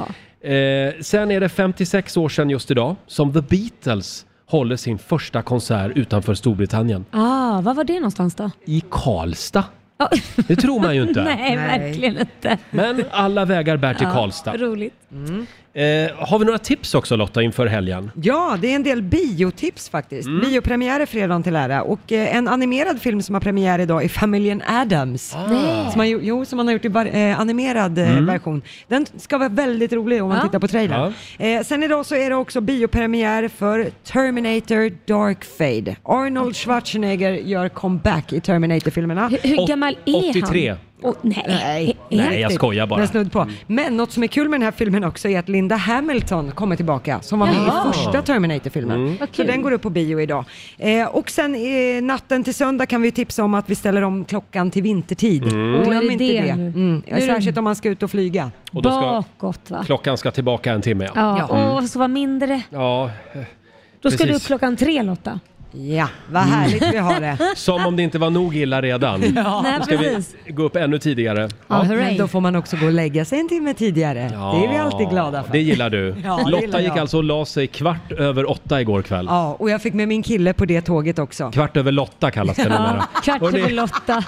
A: Eh, sen är det 56 år sedan just idag som The Beatles håller sin första konsert utanför Storbritannien.
C: Ah, var var det någonstans då?
A: I Karlstad. Det tror man ju inte.
C: Nej, verkligen inte.
A: Men alla vägar bär till
B: Ja,
A: Karlstad.
C: Roligt.
A: Eh, har vi några tips också Lotta inför helgen?
B: Ja, det är en del biotips faktiskt.
J: Mm.
B: Biopremiärer fredagen till ära och eh, en animerad film som har premiär idag är Familjen Adams.
J: Nej.
B: Som man, ju- jo, som man har gjort i bar, eh, animerad eh,
J: Ah. Mm.
B: version. Den ska vara väldigt rolig om man
J: Ja.
B: tittar på trailern. Eh, sen idag så är det också biopremiär för Terminator Dark Fade. Arnold Schwarzenegger gör comeback i Terminator-filmerna.
C: Hur, hur gammal är han?
A: 83.
C: Åh, nej.
B: Nej,
A: Nej, jag skojar bara.
B: Men snudd på. Men något som är kul med den här filmen också är att Linda Hamilton kommer tillbaka som var med
J: Jaha.
B: i första Terminator-filmen.
J: Mm. Vad
B: Så
J: kul.
B: den går upp på bio idag. Eh, och sen eh, natten till söndag kan vi tipsa om att vi ställer om klockan till vintertid.
A: Mm. Åh, är
B: Glöm
A: det
B: inte
A: det
B: det.
A: nu?
B: Mm.
A: Nu är det-
B: Särskilt om man ska ut och flyga.
A: Och då ska-
C: Bakåt va?
A: Klockan ska tillbaka en timme.
C: Ja,
A: Mm.
C: och så var mindre.
A: ja.
C: Då ska
A: Precis.
C: du klockan tre Lotta.
B: Ja, vad
A: Mm.
B: härligt vi har det.
A: Som om det inte var nog illa redan.
B: Ja.
A: Då ska vi
B: precis.
A: gå upp ännu tidigare.
B: Ja, men då får man också gå och lägga sig en timme tidigare. Det är vi alltid glada för.
A: Det gillar du.
B: Ja, det
A: Lotta
B: gillar
A: gick
B: jag.
A: alltså och la sig kvart över åtta igår kväll.
B: Ja, och jag fick med min kille på det tåget också.
A: Kvart över Lotta kallas det numera. Hörrni,
C: Lotta.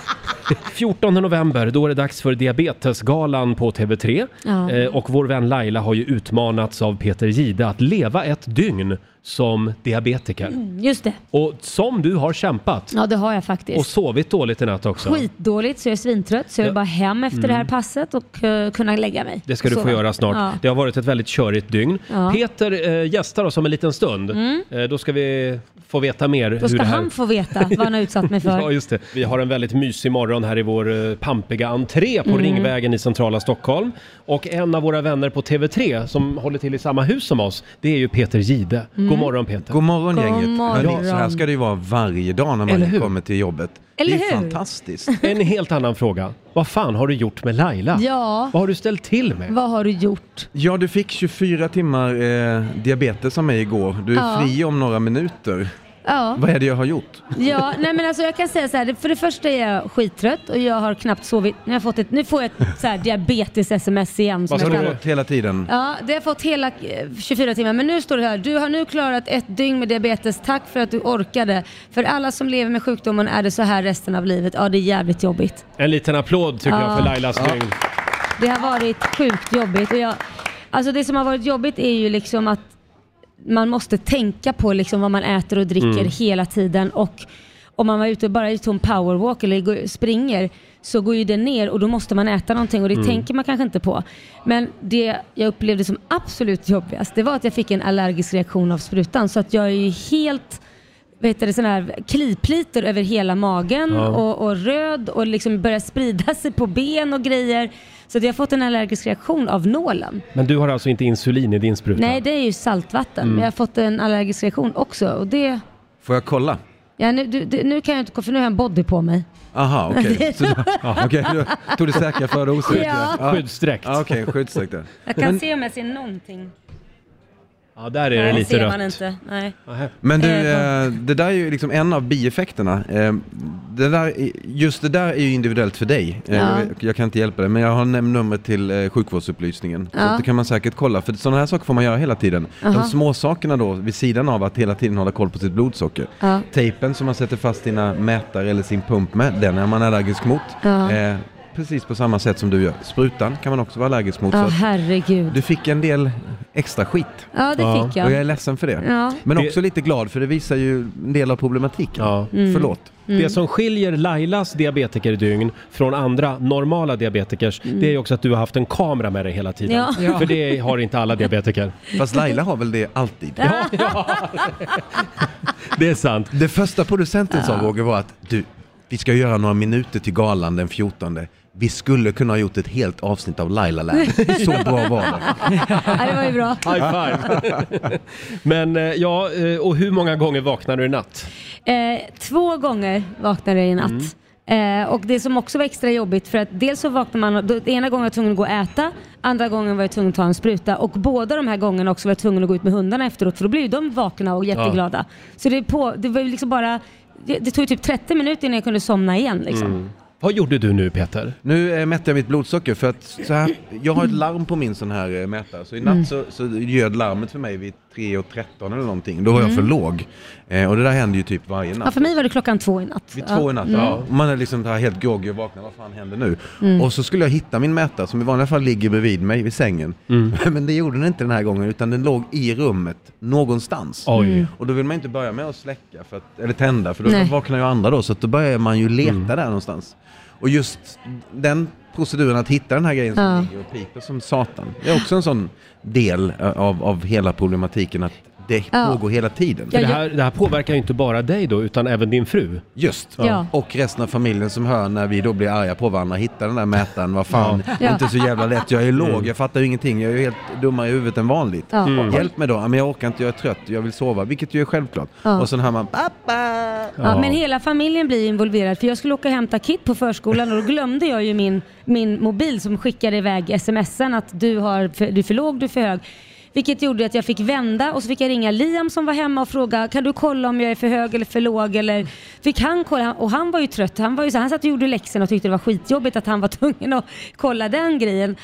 A: 14 november, då är det dags för Diabetesgalan på TV3.
C: Ja.
A: Eh, och vår vän Laila har ju utmanats av Peter Gide att leva ett dygn som diabetiker.
C: Mm, Just det.
A: Och som du har kämpat.
C: Ja, det har jag faktiskt.
A: Och sovit dåligt i natt också.
C: Skitdåligt, så jag är svintrött. Så jag
A: Ja.
C: vill bara hem efter
A: Mm.
C: det här passet och eh, kunna lägga mig.
A: Det ska du
C: Så.
A: få göra snart.
C: Ja.
A: Det har varit ett väldigt körigt dygn.
C: Ja.
A: Peter eh, gästar oss om en liten stund.
C: Mm.
A: Eh, då ska vi få veta mer
C: Då
A: hur
C: ska
A: det här...
C: han få veta vad han har utsatt mig för.
A: Ja, just det. Vi har en väldigt mysig morgon här i vår eh, pampiga entré på
C: Mm.
A: Ringvägen i centrala Stockholm. Och en av våra vänner på TV3 som håller till i samma hus som oss, det är ju Peter Gide.
C: Mm.
A: God morgon Peter!
E: God morgon
C: God
E: gänget.
C: morgon.
E: Hörni, så här ska det ju vara varje dag när
A: Eller hur?
E: man kommer till jobbet.
C: Eller
E: det är
C: hur?
E: fantastiskt.
A: En helt annan fråga. Vad fan har du gjort med Laila?
C: Ja.
A: Vad har du ställt till med?
C: Vad har du gjort?
E: Ja, du fick 24 timmar eh, diabetes av mig igår. Du är
C: Ja.
E: fri om några minuter.
C: Ja.
E: Vad är det jag har gjort?
C: Ja, nej men alltså jag kan säga så här. För det första är jag skittrött och jag har knappt sovit. Nu, har jag fått ett, nu får jag ett så här diabetes-sms igen. som
E: Vad har
C: jag
E: du
C: kallar-
E: fått hela tiden?
C: Ja, det har jag fått hela eh, 24 timmar. Men nu står det här. Du har nu klarat ett dygn med diabetes. Tack för att du orkade. För alla som lever med sjukdomen är det så här resten av livet. Ja, det är jävligt jobbigt.
A: En liten applåd tycker jag för
C: Ja.
A: Lailas
C: Ja.
A: dygn.
C: Det har varit sjukt jobbigt. Och jag, alltså det som har varit jobbigt är ju liksom att man måste tänka på liksom vad man äter och dricker
J: Mm.
C: hela tiden. Och om man var ute och bara gör en powerwalk eller går- springer så går ju det ner och då måste man äta någonting och det
J: Mm.
C: tänker man kanske inte på. Men det jag upplevde som absolut jobbigast det var att jag fick en allergisk reaktion av sprutan så att jag är ju helt vet du, sån här klipliter över hela magen
J: Ja.
C: och, och röd och liksom börjar sprida sig på ben och grejer. Så att jag har fått en allergisk reaktion av nålen.
A: Men du har alltså inte insulin i din spruta?
C: Nej, det är ju saltvatten.
A: Mm.
C: Men jag har fått en allergisk reaktion också. Och det,
E: Får jag kolla?
C: ja, nu, du, du, nu kan jag inte, för nu har jag en body på mig.
E: Aha, okej.
C: Det-
E: Så då- Okej, då tog du säkra före osäkra?
C: Ja.
A: Skyddsdräkt.
E: Ja, Okej, skyddsdräkt. ja.
C: Jag kan
E: Men-
C: se om jag ser någonting.
A: Ja, där är det
P: Nej,
A: lite
P: ser man
A: rött.
P: inte. Nej.
E: Men du,
P: Eh,
E: eh, det där är ju liksom en av bieffekterna. Eh, Det där, är- just det där är ju individuellt för dig. Eh,
C: Ja.
E: Jag kan inte hjälpa dig, men jag har nämnt numret till eh, sjukvårdsupplysningen. Så
C: Ja.
E: att det kan man säkert kolla, för sådana här saker får man göra hela tiden.
C: Aha.
E: De små sakerna då, vid sidan av att hela tiden hålla koll på sitt blodsocker.
C: Ja.
E: Tejpen som man sätter fast sina mätare eller sin pump med, den är man allergisk mot.
C: Ja.
E: Eh, Precis på samma sätt som du gör. Sprutan kan man också vara allergisk mot.
C: Ja,
E: så att-
C: herregud.
E: du fick en del extra skit.
C: Ja, det fick jag.
E: Och jag är ledsen för det.
C: Ja.
E: Men
C: Det-
E: också lite glad för det visar ju en del av problematiken.
C: Mm.
E: Förlåt.
C: Mm.
A: Det som skiljer Lailas diabetikerdygn från andra normala diabetikers,
C: Mm.
A: det är ju också att du har haft en kamera med dig hela tiden.
C: Ja. Ja.
A: För det har inte alla diabetiker.
E: Fast Laila har väl det alltid?
A: Ja, det är sant.
E: Det första producenten sa Roger var att du, vi ska göra några minuter till galan den 14. Vi skulle kunna ha gjort ett helt avsnitt av Laila Land. Så bra var det.
C: ja, det var ju bra.
A: High five! Men eh, ja, eh, och hur många gånger vaknar du i natt?
C: Eh, två gånger vaknade jag i natt.
E: Mm.
C: Eh, och det som också var extra jobbigt för att dels så vaknade man, då, ena gången var jag tvungen att gå och äta, andra gången var jag tvungen att ta en spruta och båda de här gångerna också var jag tvungen att gå ut med hundarna efteråt för då blev ju de vakna och jätteglada. Så det, på, det var ju liksom bara, det, det tog ju typ 30 minuter innan jag kunde somna igen liksom.
E: Mm.
A: Vad gjorde du nu Peter?
E: Nu eh, mätte jag mitt blodsocker för att så här, jag har ett larm på min sån här eh, mätare. Så i natt så, så ljöd larmet för mig vid 3.13 eller någonting. Då var jag
C: Mm.
E: för låg. Eh, och det där händer ju typ varje natt.
C: Ja, för mig var det klockan två i natt.
E: Vid
C: Ja.
E: två i natt,
C: Mm.
E: ja. Man är liksom så här helt groggy och vaknar, vad fan händer nu?
C: Mm.
E: Och så skulle jag hitta min mätare som i vanliga fall ligger bredvid mig vid sängen. Men det gjorde den inte den här gången utan den låg i rummet någonstans.
A: Oj. Mm.
E: Och då vill man inte börja med att släcka, för att, eller tända, för då
C: Nej.
E: vaknar ju andra då. Så att då börjar man ju leta där någonstans. Och just den proceduren att hitta den här grejen som
C: Ja.
E: ligger och piper som satan. Det är också en sån del eh, av, av hela problematiken att det
C: Ja.
E: pågår hela tiden.
A: För det, här, det här påverkar ju inte bara dig då, utan även din fru.
E: Just,
A: Ja.
E: och resten av familjen som hör när vi då blir arga på varandra, hittar den där mätaren, vad fan,
A: Ja.
E: det är inte så jävla lätt, jag är låg,
A: Mm.
E: jag fattar ju ingenting, jag är ju helt dummare i huvudet än vanligt.
C: Ja. Mm.
E: Hjälp mig då, Ja, men jag orkar inte, jag är trött, jag vill sova, vilket ju är självklart.
C: Ja.
E: Och sen hör man, "App."
C: Ja.
E: Ja.
C: men hela familjen blir involverad för jag skulle åka och hämta Kit på förskolan och då glömde jag ju min, min mobil som skickade iväg smsen att du, har, för- du är för låg, du är för hög. Vilket gjorde att jag fick vända och så fick jag ringa Liam som var hemma och fråga kan du kolla om jag är för hög eller för låg eller fick han kolla och han var ju trött. Han, var ju så, han satt och gjorde läxorna och tyckte det var skitjobbigt att han var tvungen att kolla den grejen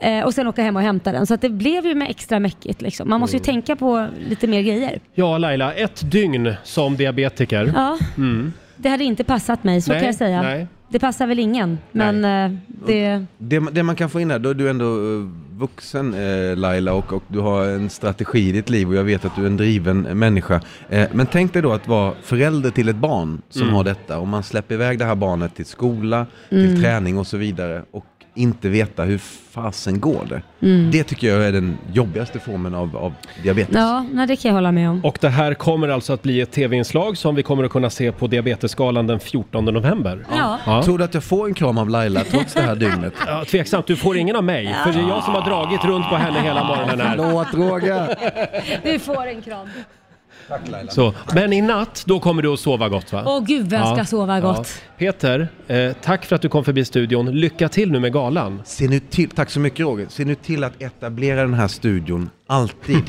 C: eh, och sen åka hem och hämta den. Så att det blev ju med extra mäckigt liksom. Man måste ju tänka på lite mer grejer.
A: Ja, Laila, ett dygn som diabetiker.
C: Ja.
A: Mm.
C: Det hade inte passat mig, så
A: Nej,
C: kan jag säga.
A: nej.
C: Det passar väl ingen, men eh, det...
E: Det, det man kan få in där, då är du ändå eh, vuxen eh, Laila och, och du har en strategi i ditt liv och jag vet att du är en driven människa. Eh, men tänk dig då att vara förälder till ett barn som
A: Mm.
E: har detta och man släpper iväg det här barnet till skola,
A: Mm.
E: till träning och så vidare och inte veta hur fasen går det.
C: Mm.
E: Det tycker jag är den jobbigaste formen av, av diabetes.
C: Ja, nej, det kan jag hålla med om.
A: Och det här kommer alltså att bli ett tv-inslag som vi kommer att kunna se på Diabetesgalan den 14 november.
C: Ja.
E: Tror du att jag får en kram av Laila trots det här dygnet?
A: Ja, tveksamt, du får ingen av mig. För det är jag som har dragit runt på henne hela morgonen här.
E: Förlåt Roger!
C: Du får en kram.
A: Så. Men i natt, då kommer du att sova gott va?
C: Åh, gud, vad jag ska sova gott.
A: Peter, eh, tack för att du kom förbi studion. Lycka till nu med galan.
E: Se nu till, tack så mycket Roger, se nu till att etablera den här studion alltid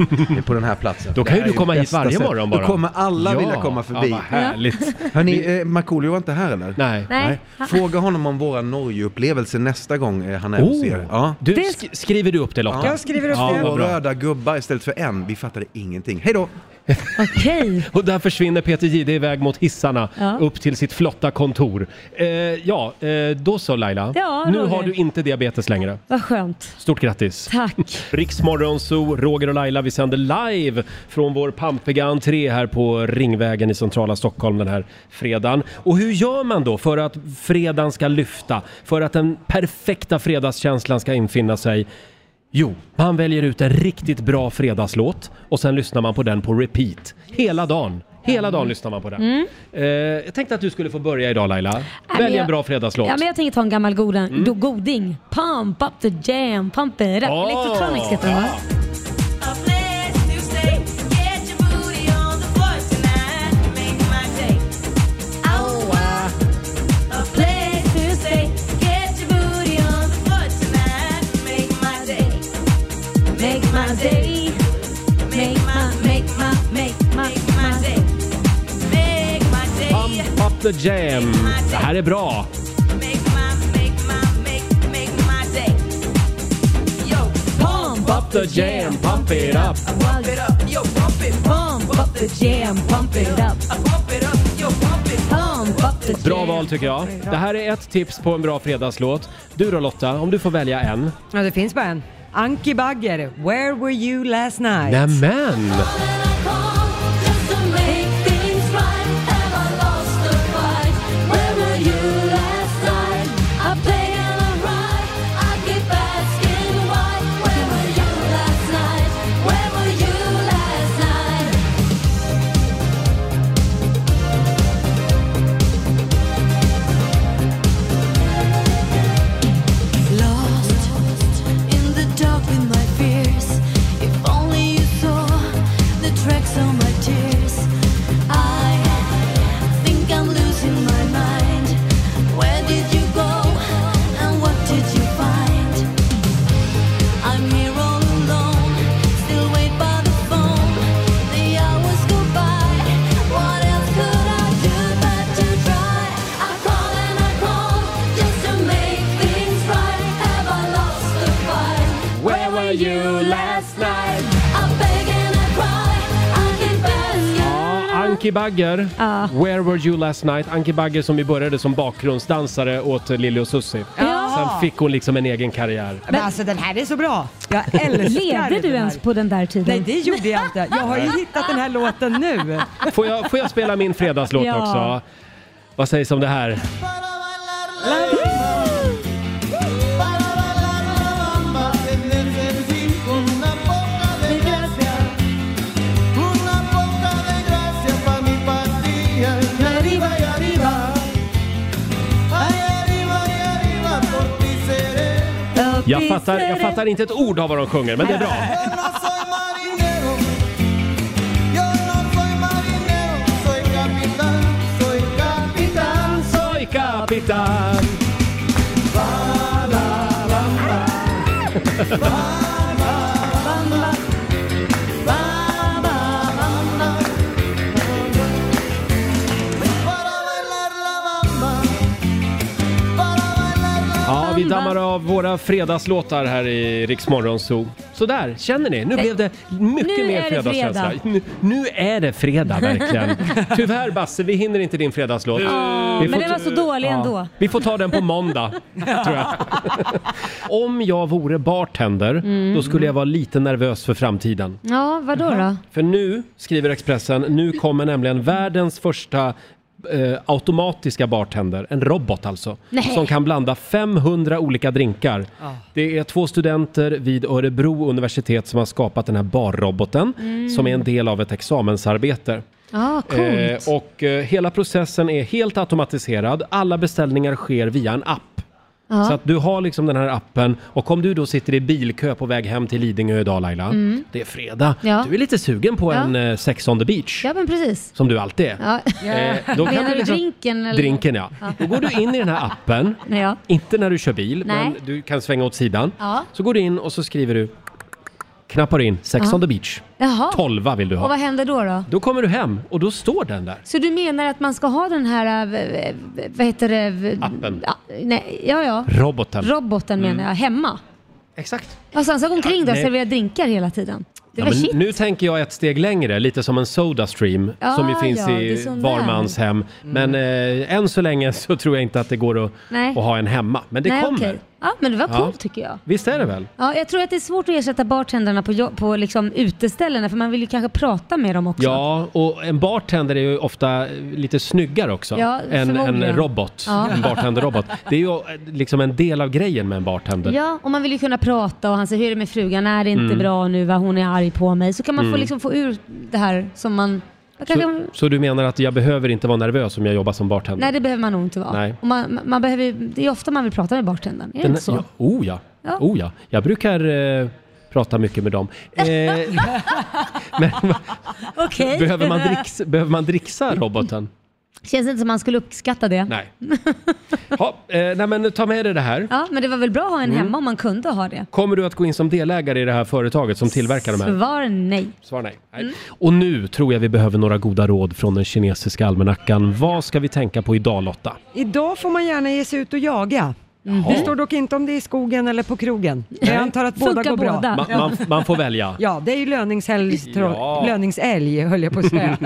E: på den här platsen.
A: Då kan
E: Det
A: ju
E: här
A: du
E: är
A: komma hit
E: bästa
A: varje
E: sätt.
A: morgon bara.
E: Då kommer alla
A: Ja.
E: vilja komma förbi.
A: Ja, vad härligt.
E: Hörni, eh, Markoolio var inte här eller?
A: Nej. Nej.
E: Fråga honom om våra Norgeupplevelse nästa gång eh, han är hos
A: Oh.
E: er. Ja.
A: Du, sk- skriver du upp det Lotta?
E: Ja. Ja,
A: Ja, vad
E: och
A: bra.
E: röda gubbar istället för en, vi fattade ingenting. Hej då!
C: Okej.
A: Och där försvinner Peter Jihde iväg mot hissarna
C: Ja.
A: upp till sitt flotta kontor. Eh, ja, eh, då så Laila.
C: Ja,
A: nu
C: Roger.
A: har du inte diabetes längre.
C: Vad skönt.
A: Stort grattis!
C: Tack!
A: Riksmorgonzoo, Roger och Laila, vi sänder live från vår pampiga entré här på Ringvägen i centrala Stockholm den här fredagen. Och hur gör man då för att fredagen ska lyfta? För att den perfekta fredagskänslan ska infinna sig? Jo, man väljer ut en riktigt bra fredagslåt och sen lyssnar man på den på repeat. Hela dagen. Hela dagen lyssnar man på den. Eh, jag tänkte att du skulle få börja idag Laila.
C: Mm. men
A: Välj en
C: jag-
A: bra fredagslåt. Mm.
C: Ja, men jag tänker ta en gammal godan, do, goding. Pump up the jam, pump it up.
A: Åh.
C: Electronics heter den va?
P: ah. Make my day, make Um.
A: The Jam. Det här är bra.
J: Pump up the jam, pump it up. Pump it up, yo, pump it. Pump up the jam, pump it up. Pump it up, yo, pump it. Pump up the
A: Bra val tycker jag. Det här är ett tips på en bra fredagslåt. Du då Lotta, om du får välja en.
B: Ja, det finns bara en. Anki Bagger, Where were you last night?
A: Nämen!
J: I'm here all alone, still wait by the phone. The hours go by. What else could I do but to try? I call and I call just to make things right. Have I lost the fight? Where were you last night? I beg and I cry. I can bask in
A: Anki Bagger, Where were you last night? Anki Bagger som vi började som bakgrundsdansare åt Lili och Susi.
C: Ja.
A: Sen fick hon liksom en egen karriär.
B: Men alltså den här är så bra. Jag älskar
C: Levde du
B: den
C: ens
B: här.
C: på den där tiden?
B: Nej, det gjorde jag inte. Jag har ju hittat den här låten nu.
A: Får jag, får jag spela min fredagslåt
B: Ja.
A: också? Vad sägs om det här? Jag fattar, jag fattar inte ett ord av vad de sjunger, men det är bra. Soy capitan. Ja, vi dammar av våra fredagslåtar här i Riksmorgon Zoo. Sådär, känner ni? Nu blev det mycket
J: Nu
A: mer
J: är det
A: fredagskänsla.
J: fredag.
A: Nu, nu är det fredag verkligen. Tyvärr Basse, vi hinner inte din fredagslåt.
C: Ja,
A: Vi
C: men
A: får-
C: den var så dålig ändå.
A: Vi får ta den på måndag, tror jag. Om jag vore bartender,
C: Mm.
A: då skulle jag vara lite nervös för framtiden.
C: Ja, vadå då?
A: För nu, skriver Expressen, nu kommer nämligen världens första eh, automatiska bartender, en robot alltså,
C: Nej. Ah.
A: som kan blanda 500 olika drinkar. Det är två studenter vid Örebro universitet som har skapat den här barroboten
C: Mm.
A: som är en del av ett examensarbete.
C: Ja, coolt.
A: Eh, och eh, hela processen är helt automatiserad. Alla beställningar sker via en app.
C: Ja.
A: Så att du har liksom den här appen och om du då sitter i bilkö på väg hem till Lidingö idag Laila,
C: Mm.
A: det är fredag,
C: Ja.
A: du är lite sugen på
C: Ja.
A: en eh, sex on the beach,
C: Ja, men precis.
A: som du alltid är.
C: Ja.
A: Eh, då kan
C: Menar
A: du
C: du
A: liksom-
C: drinken? Eller?
A: Drinken ja.
C: Ja.
A: Då går du in i den här appen,
C: Nej, ja.
A: inte när du kör bil,
C: Nej.
A: men du kan svänga åt sidan.
C: Ja.
A: Så går du in och så skriver du, knappar in sex
C: Ja.
A: on the beach,
C: Jaha.
A: tolva vill du
C: Och vad
A: ha.
C: händer då då?
A: Då kommer du hem och då står den där.
C: Så du menar att man ska ha den här, eh, v- v- vad heter det? V-
A: Appen.
C: Ja, nej, ja, ja.
A: Roboten.
C: Roboten menar
A: Mm.
C: jag, hemma.
A: Exakt.
C: Och sen så går omkring där och
A: nej.
C: serverar drinkar hela tiden. Det
A: Ja,
C: var
A: men
C: shit.
A: nu tänker jag ett steg längre, lite som en Sodastream
C: Ja,
A: som ju finns
C: ja, det är
A: i
C: sån
A: var
C: där.
A: mans hem. Men eh, än så länge så tror jag inte att det går att,
C: Nej.
A: att ha en hemma. Men det
C: nej,
A: kommer.
C: okej. Ja, men det var
A: Ja.
C: coolt tycker jag.
A: Visst är det väl?
C: Ja, jag tror att det är svårt att ersätta bartendrarna på, jo- på liksom uteställena för man vill ju kanske prata med dem också.
A: Ja, och en bartender är ju ofta lite snyggare också
C: Ja,
A: än en
C: förmodligen.
A: robot.
C: Ja.
A: En bartenderrobot. Det är ju eh, liksom en del av grejen med en bartender.
C: Ja, och man vill ju kunna prata och han säger hur är det med frugan, är det inte
A: Mm.
C: bra nu, vad hon är arg på mig. Så kan man få,
A: Mm.
C: liksom, få ur det här som man... man kanske,
A: Så, så du menar att jag behöver inte vara nervös om jag jobbar som bartender?
C: Nej, det behöver man nog inte vara.
A: Nej.
C: Och man, man behöver, ju- det är ofta man vill prata med bartendern, är det
A: Den-
C: inte så?
A: Ja, oh ja.
C: Ja.
A: Oh ja. Jag brukar eh, prata mycket med dem. Eh,
C: Okej.
A: behöver, man dricks, behöver man dricksa roboten?
C: Känns inte som man skulle uppskatta det.
A: Nej. Ha, eh, nej men ta med dig det här.
C: Ja, men det var väl bra att ha en
A: Mm.
C: hemma om man kunde ha det.
A: Kommer du att gå in som delägare i det här företaget som tillverkar de här?
C: Svar nej.
A: Svar nej. nej.
C: Mm.
A: Och nu tror jag vi behöver några goda råd från den kinesiska almanackan. Vad ska vi tänka på idag Lotta?
B: Idag får man gärna ge sig ut och jaga.
C: Mhm.
B: Det står dock inte om det är i skogen eller på krogen. Jag antar att båda
C: Funkar
B: går bra.
C: båda.
A: Man, man, man får välja.
B: Ja, det är ju löningshelg, tro-
A: Ja.
B: löningsälg höll jag på att säga.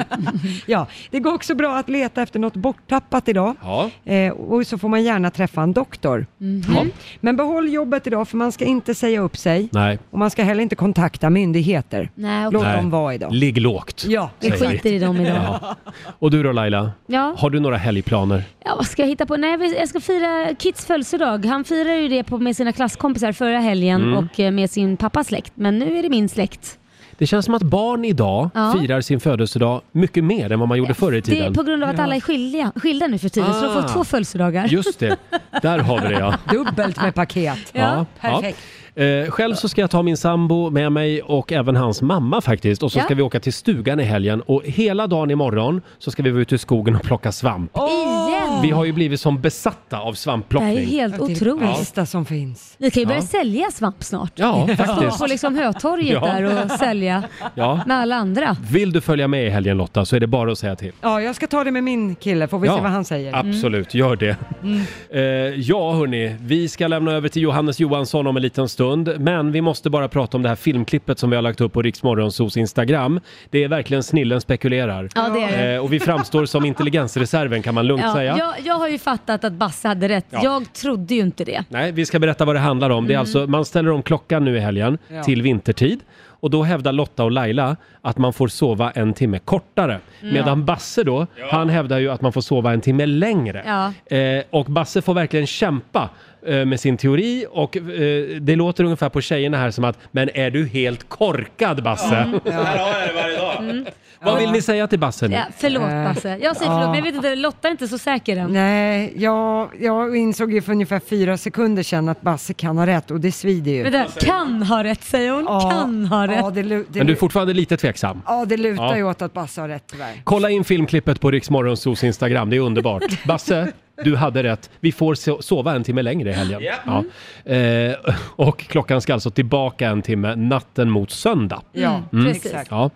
B: ja, det går också bra att leta efter något borttappat idag.
A: Ja.
B: Eh, och så får man gärna träffa en doktor.
C: Mhm.
A: Ja.
B: Men behåll jobbet idag för man ska inte säga upp sig.
A: Nej.
B: Och man ska heller inte kontakta myndigheter.
C: Nej,
B: Låt
A: Nej.
B: dem vara idag.
A: Ligg lågt.
B: Ja,
C: vi
A: säger
C: skiter i dem idag.
A: Ja. Och du då Laila?
C: Ja.
A: Har du några helgplaner?
C: Ja, vad ska jag hitta på? Nej, vi- jag ska fira Kits födelsedag. Han firade ju det på, med sina klasskompisar förra helgen
A: Mm.
C: och eh, med sin pappas släkt. Men nu är det min släkt.
A: Det känns som att barn idag
C: Ja.
A: firar sin födelsedag mycket mer än vad man gjorde förr i
C: Det
A: tiden.
C: är på grund av att
A: Ja.
C: alla är skilja, skilda nu för tiden, så de
A: Ah.
C: får två födelsedagar.
A: Just det, där har vi det ja.
B: Dubbelt med paket.
C: Ja, perfekt.
A: ja. Eh, själv så ska jag ta min sambo med mig och även hans mamma faktiskt. Och så
C: Ja.
A: ska vi åka till stugan i helgen och hela dagen imorgon så ska vi vara ute i skogen och plocka svamp.
C: Igen!
A: Vi har ju blivit som besatta av
C: det här
A: svampplockning.
C: är helt
A: Ja.
C: otroligt.
B: Bästa som finns.
C: Ni kan ju
A: Ja.
C: börja sälja svamp snart.
A: Ja, faktiskt.
C: Stå på liksom Hötorget
A: Ja.
C: där och sälja
A: Ja.
C: med alla andra.
A: Vill du följa med i helgen Lotta så är det bara att säga till.
B: Ja, jag ska ta det med min kille, får vi se vad han säger. Mm.
A: Absolut, gör det. Eh, ja, hörni, vi ska lämna över till Johannes Johansson om en liten stund. Men vi måste bara prata om det här filmklippet som vi har lagt upp på Riksmorgonsos Instagram. Det är verkligen snillen spekulerar. Eh,
C: Ja, det är det.
A: och vi framstår som intelligensreserven kan man lugnt
C: Ja,
A: säga.
C: jag, jag har ju fattat att Basse hade rätt.
A: Ja.
C: Jag trodde ju inte det.
A: Nej, vi ska berätta vad det handlar om. Det är alltså, man ställer om klockan nu i helgen
C: Mm. Ja.
A: till vintertid. Och då hävdar Lotta och Laila att man får sova en timme kortare.
C: Mm.
A: Medan Basse då, han hävdar ju att man får sova en timme längre.
C: Ja.
A: Eh, och Basse får verkligen kämpa eh, med sin teori och eh, det låter ungefär på tjejerna här som att “men är du helt korkad Basse?” Mm.
C: Mm.
F: Så här har jag det varje dag.
A: Vad vill ni säga till Basse nu?
C: Ja, förlåt Basse. Jag säger
B: Ja.
C: förlåt, men jag vet inte, Lotta är inte så säker än.
B: Nej, jag, jag insåg ju för ungefär fyra sekunder sedan att Basse kan ha rätt och det svider ju.
C: Men det här, kan ha rätt säger hon. Kan ha rätt.
B: Ja, det, lu- det,
A: Men du är fortfarande lite tveksam?
B: ja, det lutar
A: Ja.
B: ju åt att Basse har rätt tyvärr.
C: Mm.
A: Kolla in filmklippet på Riksmorgonsos Instagram, det är underbart. Basse, du hade rätt. Vi får so- sova en timme längre i helgen.
B: Ja.
A: Ja. Eh, och klockan ska alltså tillbaka en timme natten mot söndag.
B: Ja,
C: Mm.
A: Mm.
B: precis. Exakt.
A: Ja.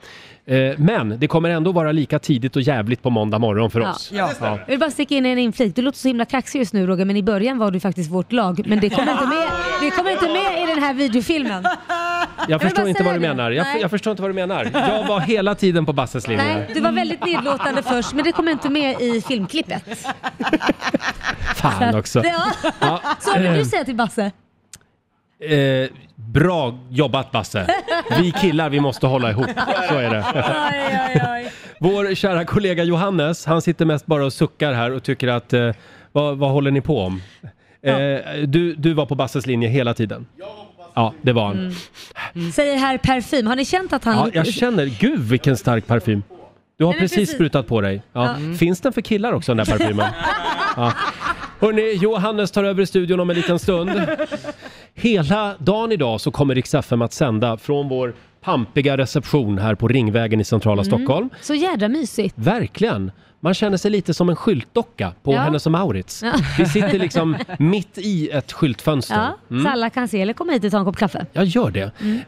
A: Eh, men det kommer ändå vara lika tidigt och jävligt på måndag morgon för oss.
B: Ja.
A: Ja.
C: Jag vill bara sticka in en inflik. Du låter så himla kaxig just nu Roger, men i början var du faktiskt vårt lag. Men det kommer inte med, det kommer inte med i den här videofilmen.
A: Jag
C: bara
A: förstår inte vad du
C: säga det.
A: menar. Jag, f-
C: Nej.
A: jag förstår inte vad du menar. Jag var hela tiden på Basses linje.
C: Nej, du var väldigt nedlåtande först, men det kommer inte med i filmklippet.
A: Fan också.
C: Ja.
A: Ja.
C: Så vad vill du säga till Basse?
A: Eh, bra jobbat Basse. Vi killar, vi måste hålla ihop. Så är det. Vår kära kollega Johannes, han sitter mest bara och suckar här och tycker att eh, vad, vad håller ni på om? Eh, du, du var på Basses linje hela tiden. Ja, det var han.
C: Säger herr Parfym. Har ni känt att han...
A: Ja, jag känner, gud vilken stark parfym. Du har
C: Mm. Nej, men
A: precis,
C: precis.
A: sprutat på dig. Ja.
C: Ja. Mm.
A: Finns den för killar också den där parfymen? Ja. Hörni, Johannes tar över i studion om en liten stund. Hela dagen idag så kommer Rix FM att sända från vår pampiga reception här på Ringvägen i centrala
C: Mm.
A: Stockholm.
C: Så jädra mysigt.
A: Verkligen! Man känner sig lite som en skyltdocka på
C: Ja.
A: Hennes och Mauritz.
C: Ja.
A: Vi sitter liksom mitt i ett skyltfönster.
C: Ja,
A: Mm.
C: så alla kan se. Eller komma hit och ta en kopp kaffe.
A: Jag gör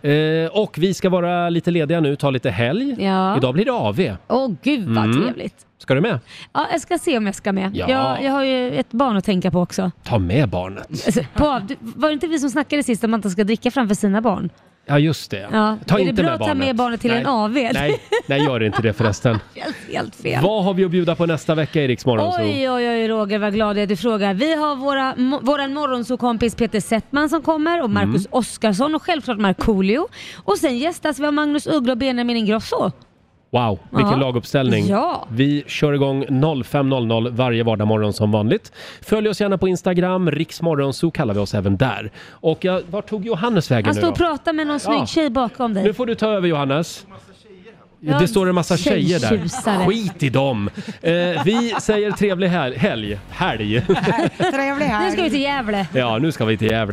A: det. Eh, och vi ska vara lite lediga nu, ta lite helg.
C: Mm. Ja.
A: Idag blir det AV.
C: Åh gud vad
A: Mm.
C: trevligt.
A: Ska du med?
C: Ja, jag ska se om jag ska med.
A: Ja.
C: Jag, jag har ju ett barn att tänka på också.
A: Ta med barnet.
C: Alltså, på, du- var det inte vi som snackade sist om att man inte ska dricka framför sina barn?
A: Ja, just det.
C: Ja.
A: Ta
C: är
A: inte
C: det bra
A: med
C: att ta
A: barnet.
C: med barnet till
A: Nej.
C: en AV?
A: Nej. Nej, gör inte det förresten.
C: Helt, helt fel.
A: Vad har vi att bjuda på nästa vecka i Rix Morgonzoo?
C: Oj, oj, oj Roger vad glad jag är att du frågar. Vi har våra, mo- våran morgonsokompis Peter Settman som kommer och Marcus
A: Mm.
C: Oskarsson och självklart Markoolio. Och sen gästas vi av Magnus Uggla och Benjamin Ingrosso.
A: Wow, vilken
C: Ja.
A: laguppställning.
C: Ja.
A: Vi kör igång 05.00 varje vardagsmorgon som vanligt. Följ oss gärna på Instagram, riksmorgonzoo kallar vi oss även där. Och jag, var tog Johannes vägen
C: Han
A: nu
C: står
A: då?
C: och pratar med någon
A: Ja.
C: snygg tjej bakom dig.
A: Nu får du ta över Johannes.
C: Ja,
A: Det står en massa tjejer där.
C: tjejtjusare.
A: Skit i dem! Eh, vi säger trevlig hel- helg. Helg!
B: Trevlig helg.
C: Nu ska vi till Gävle.
A: Ja, nu ska vi till Gävle.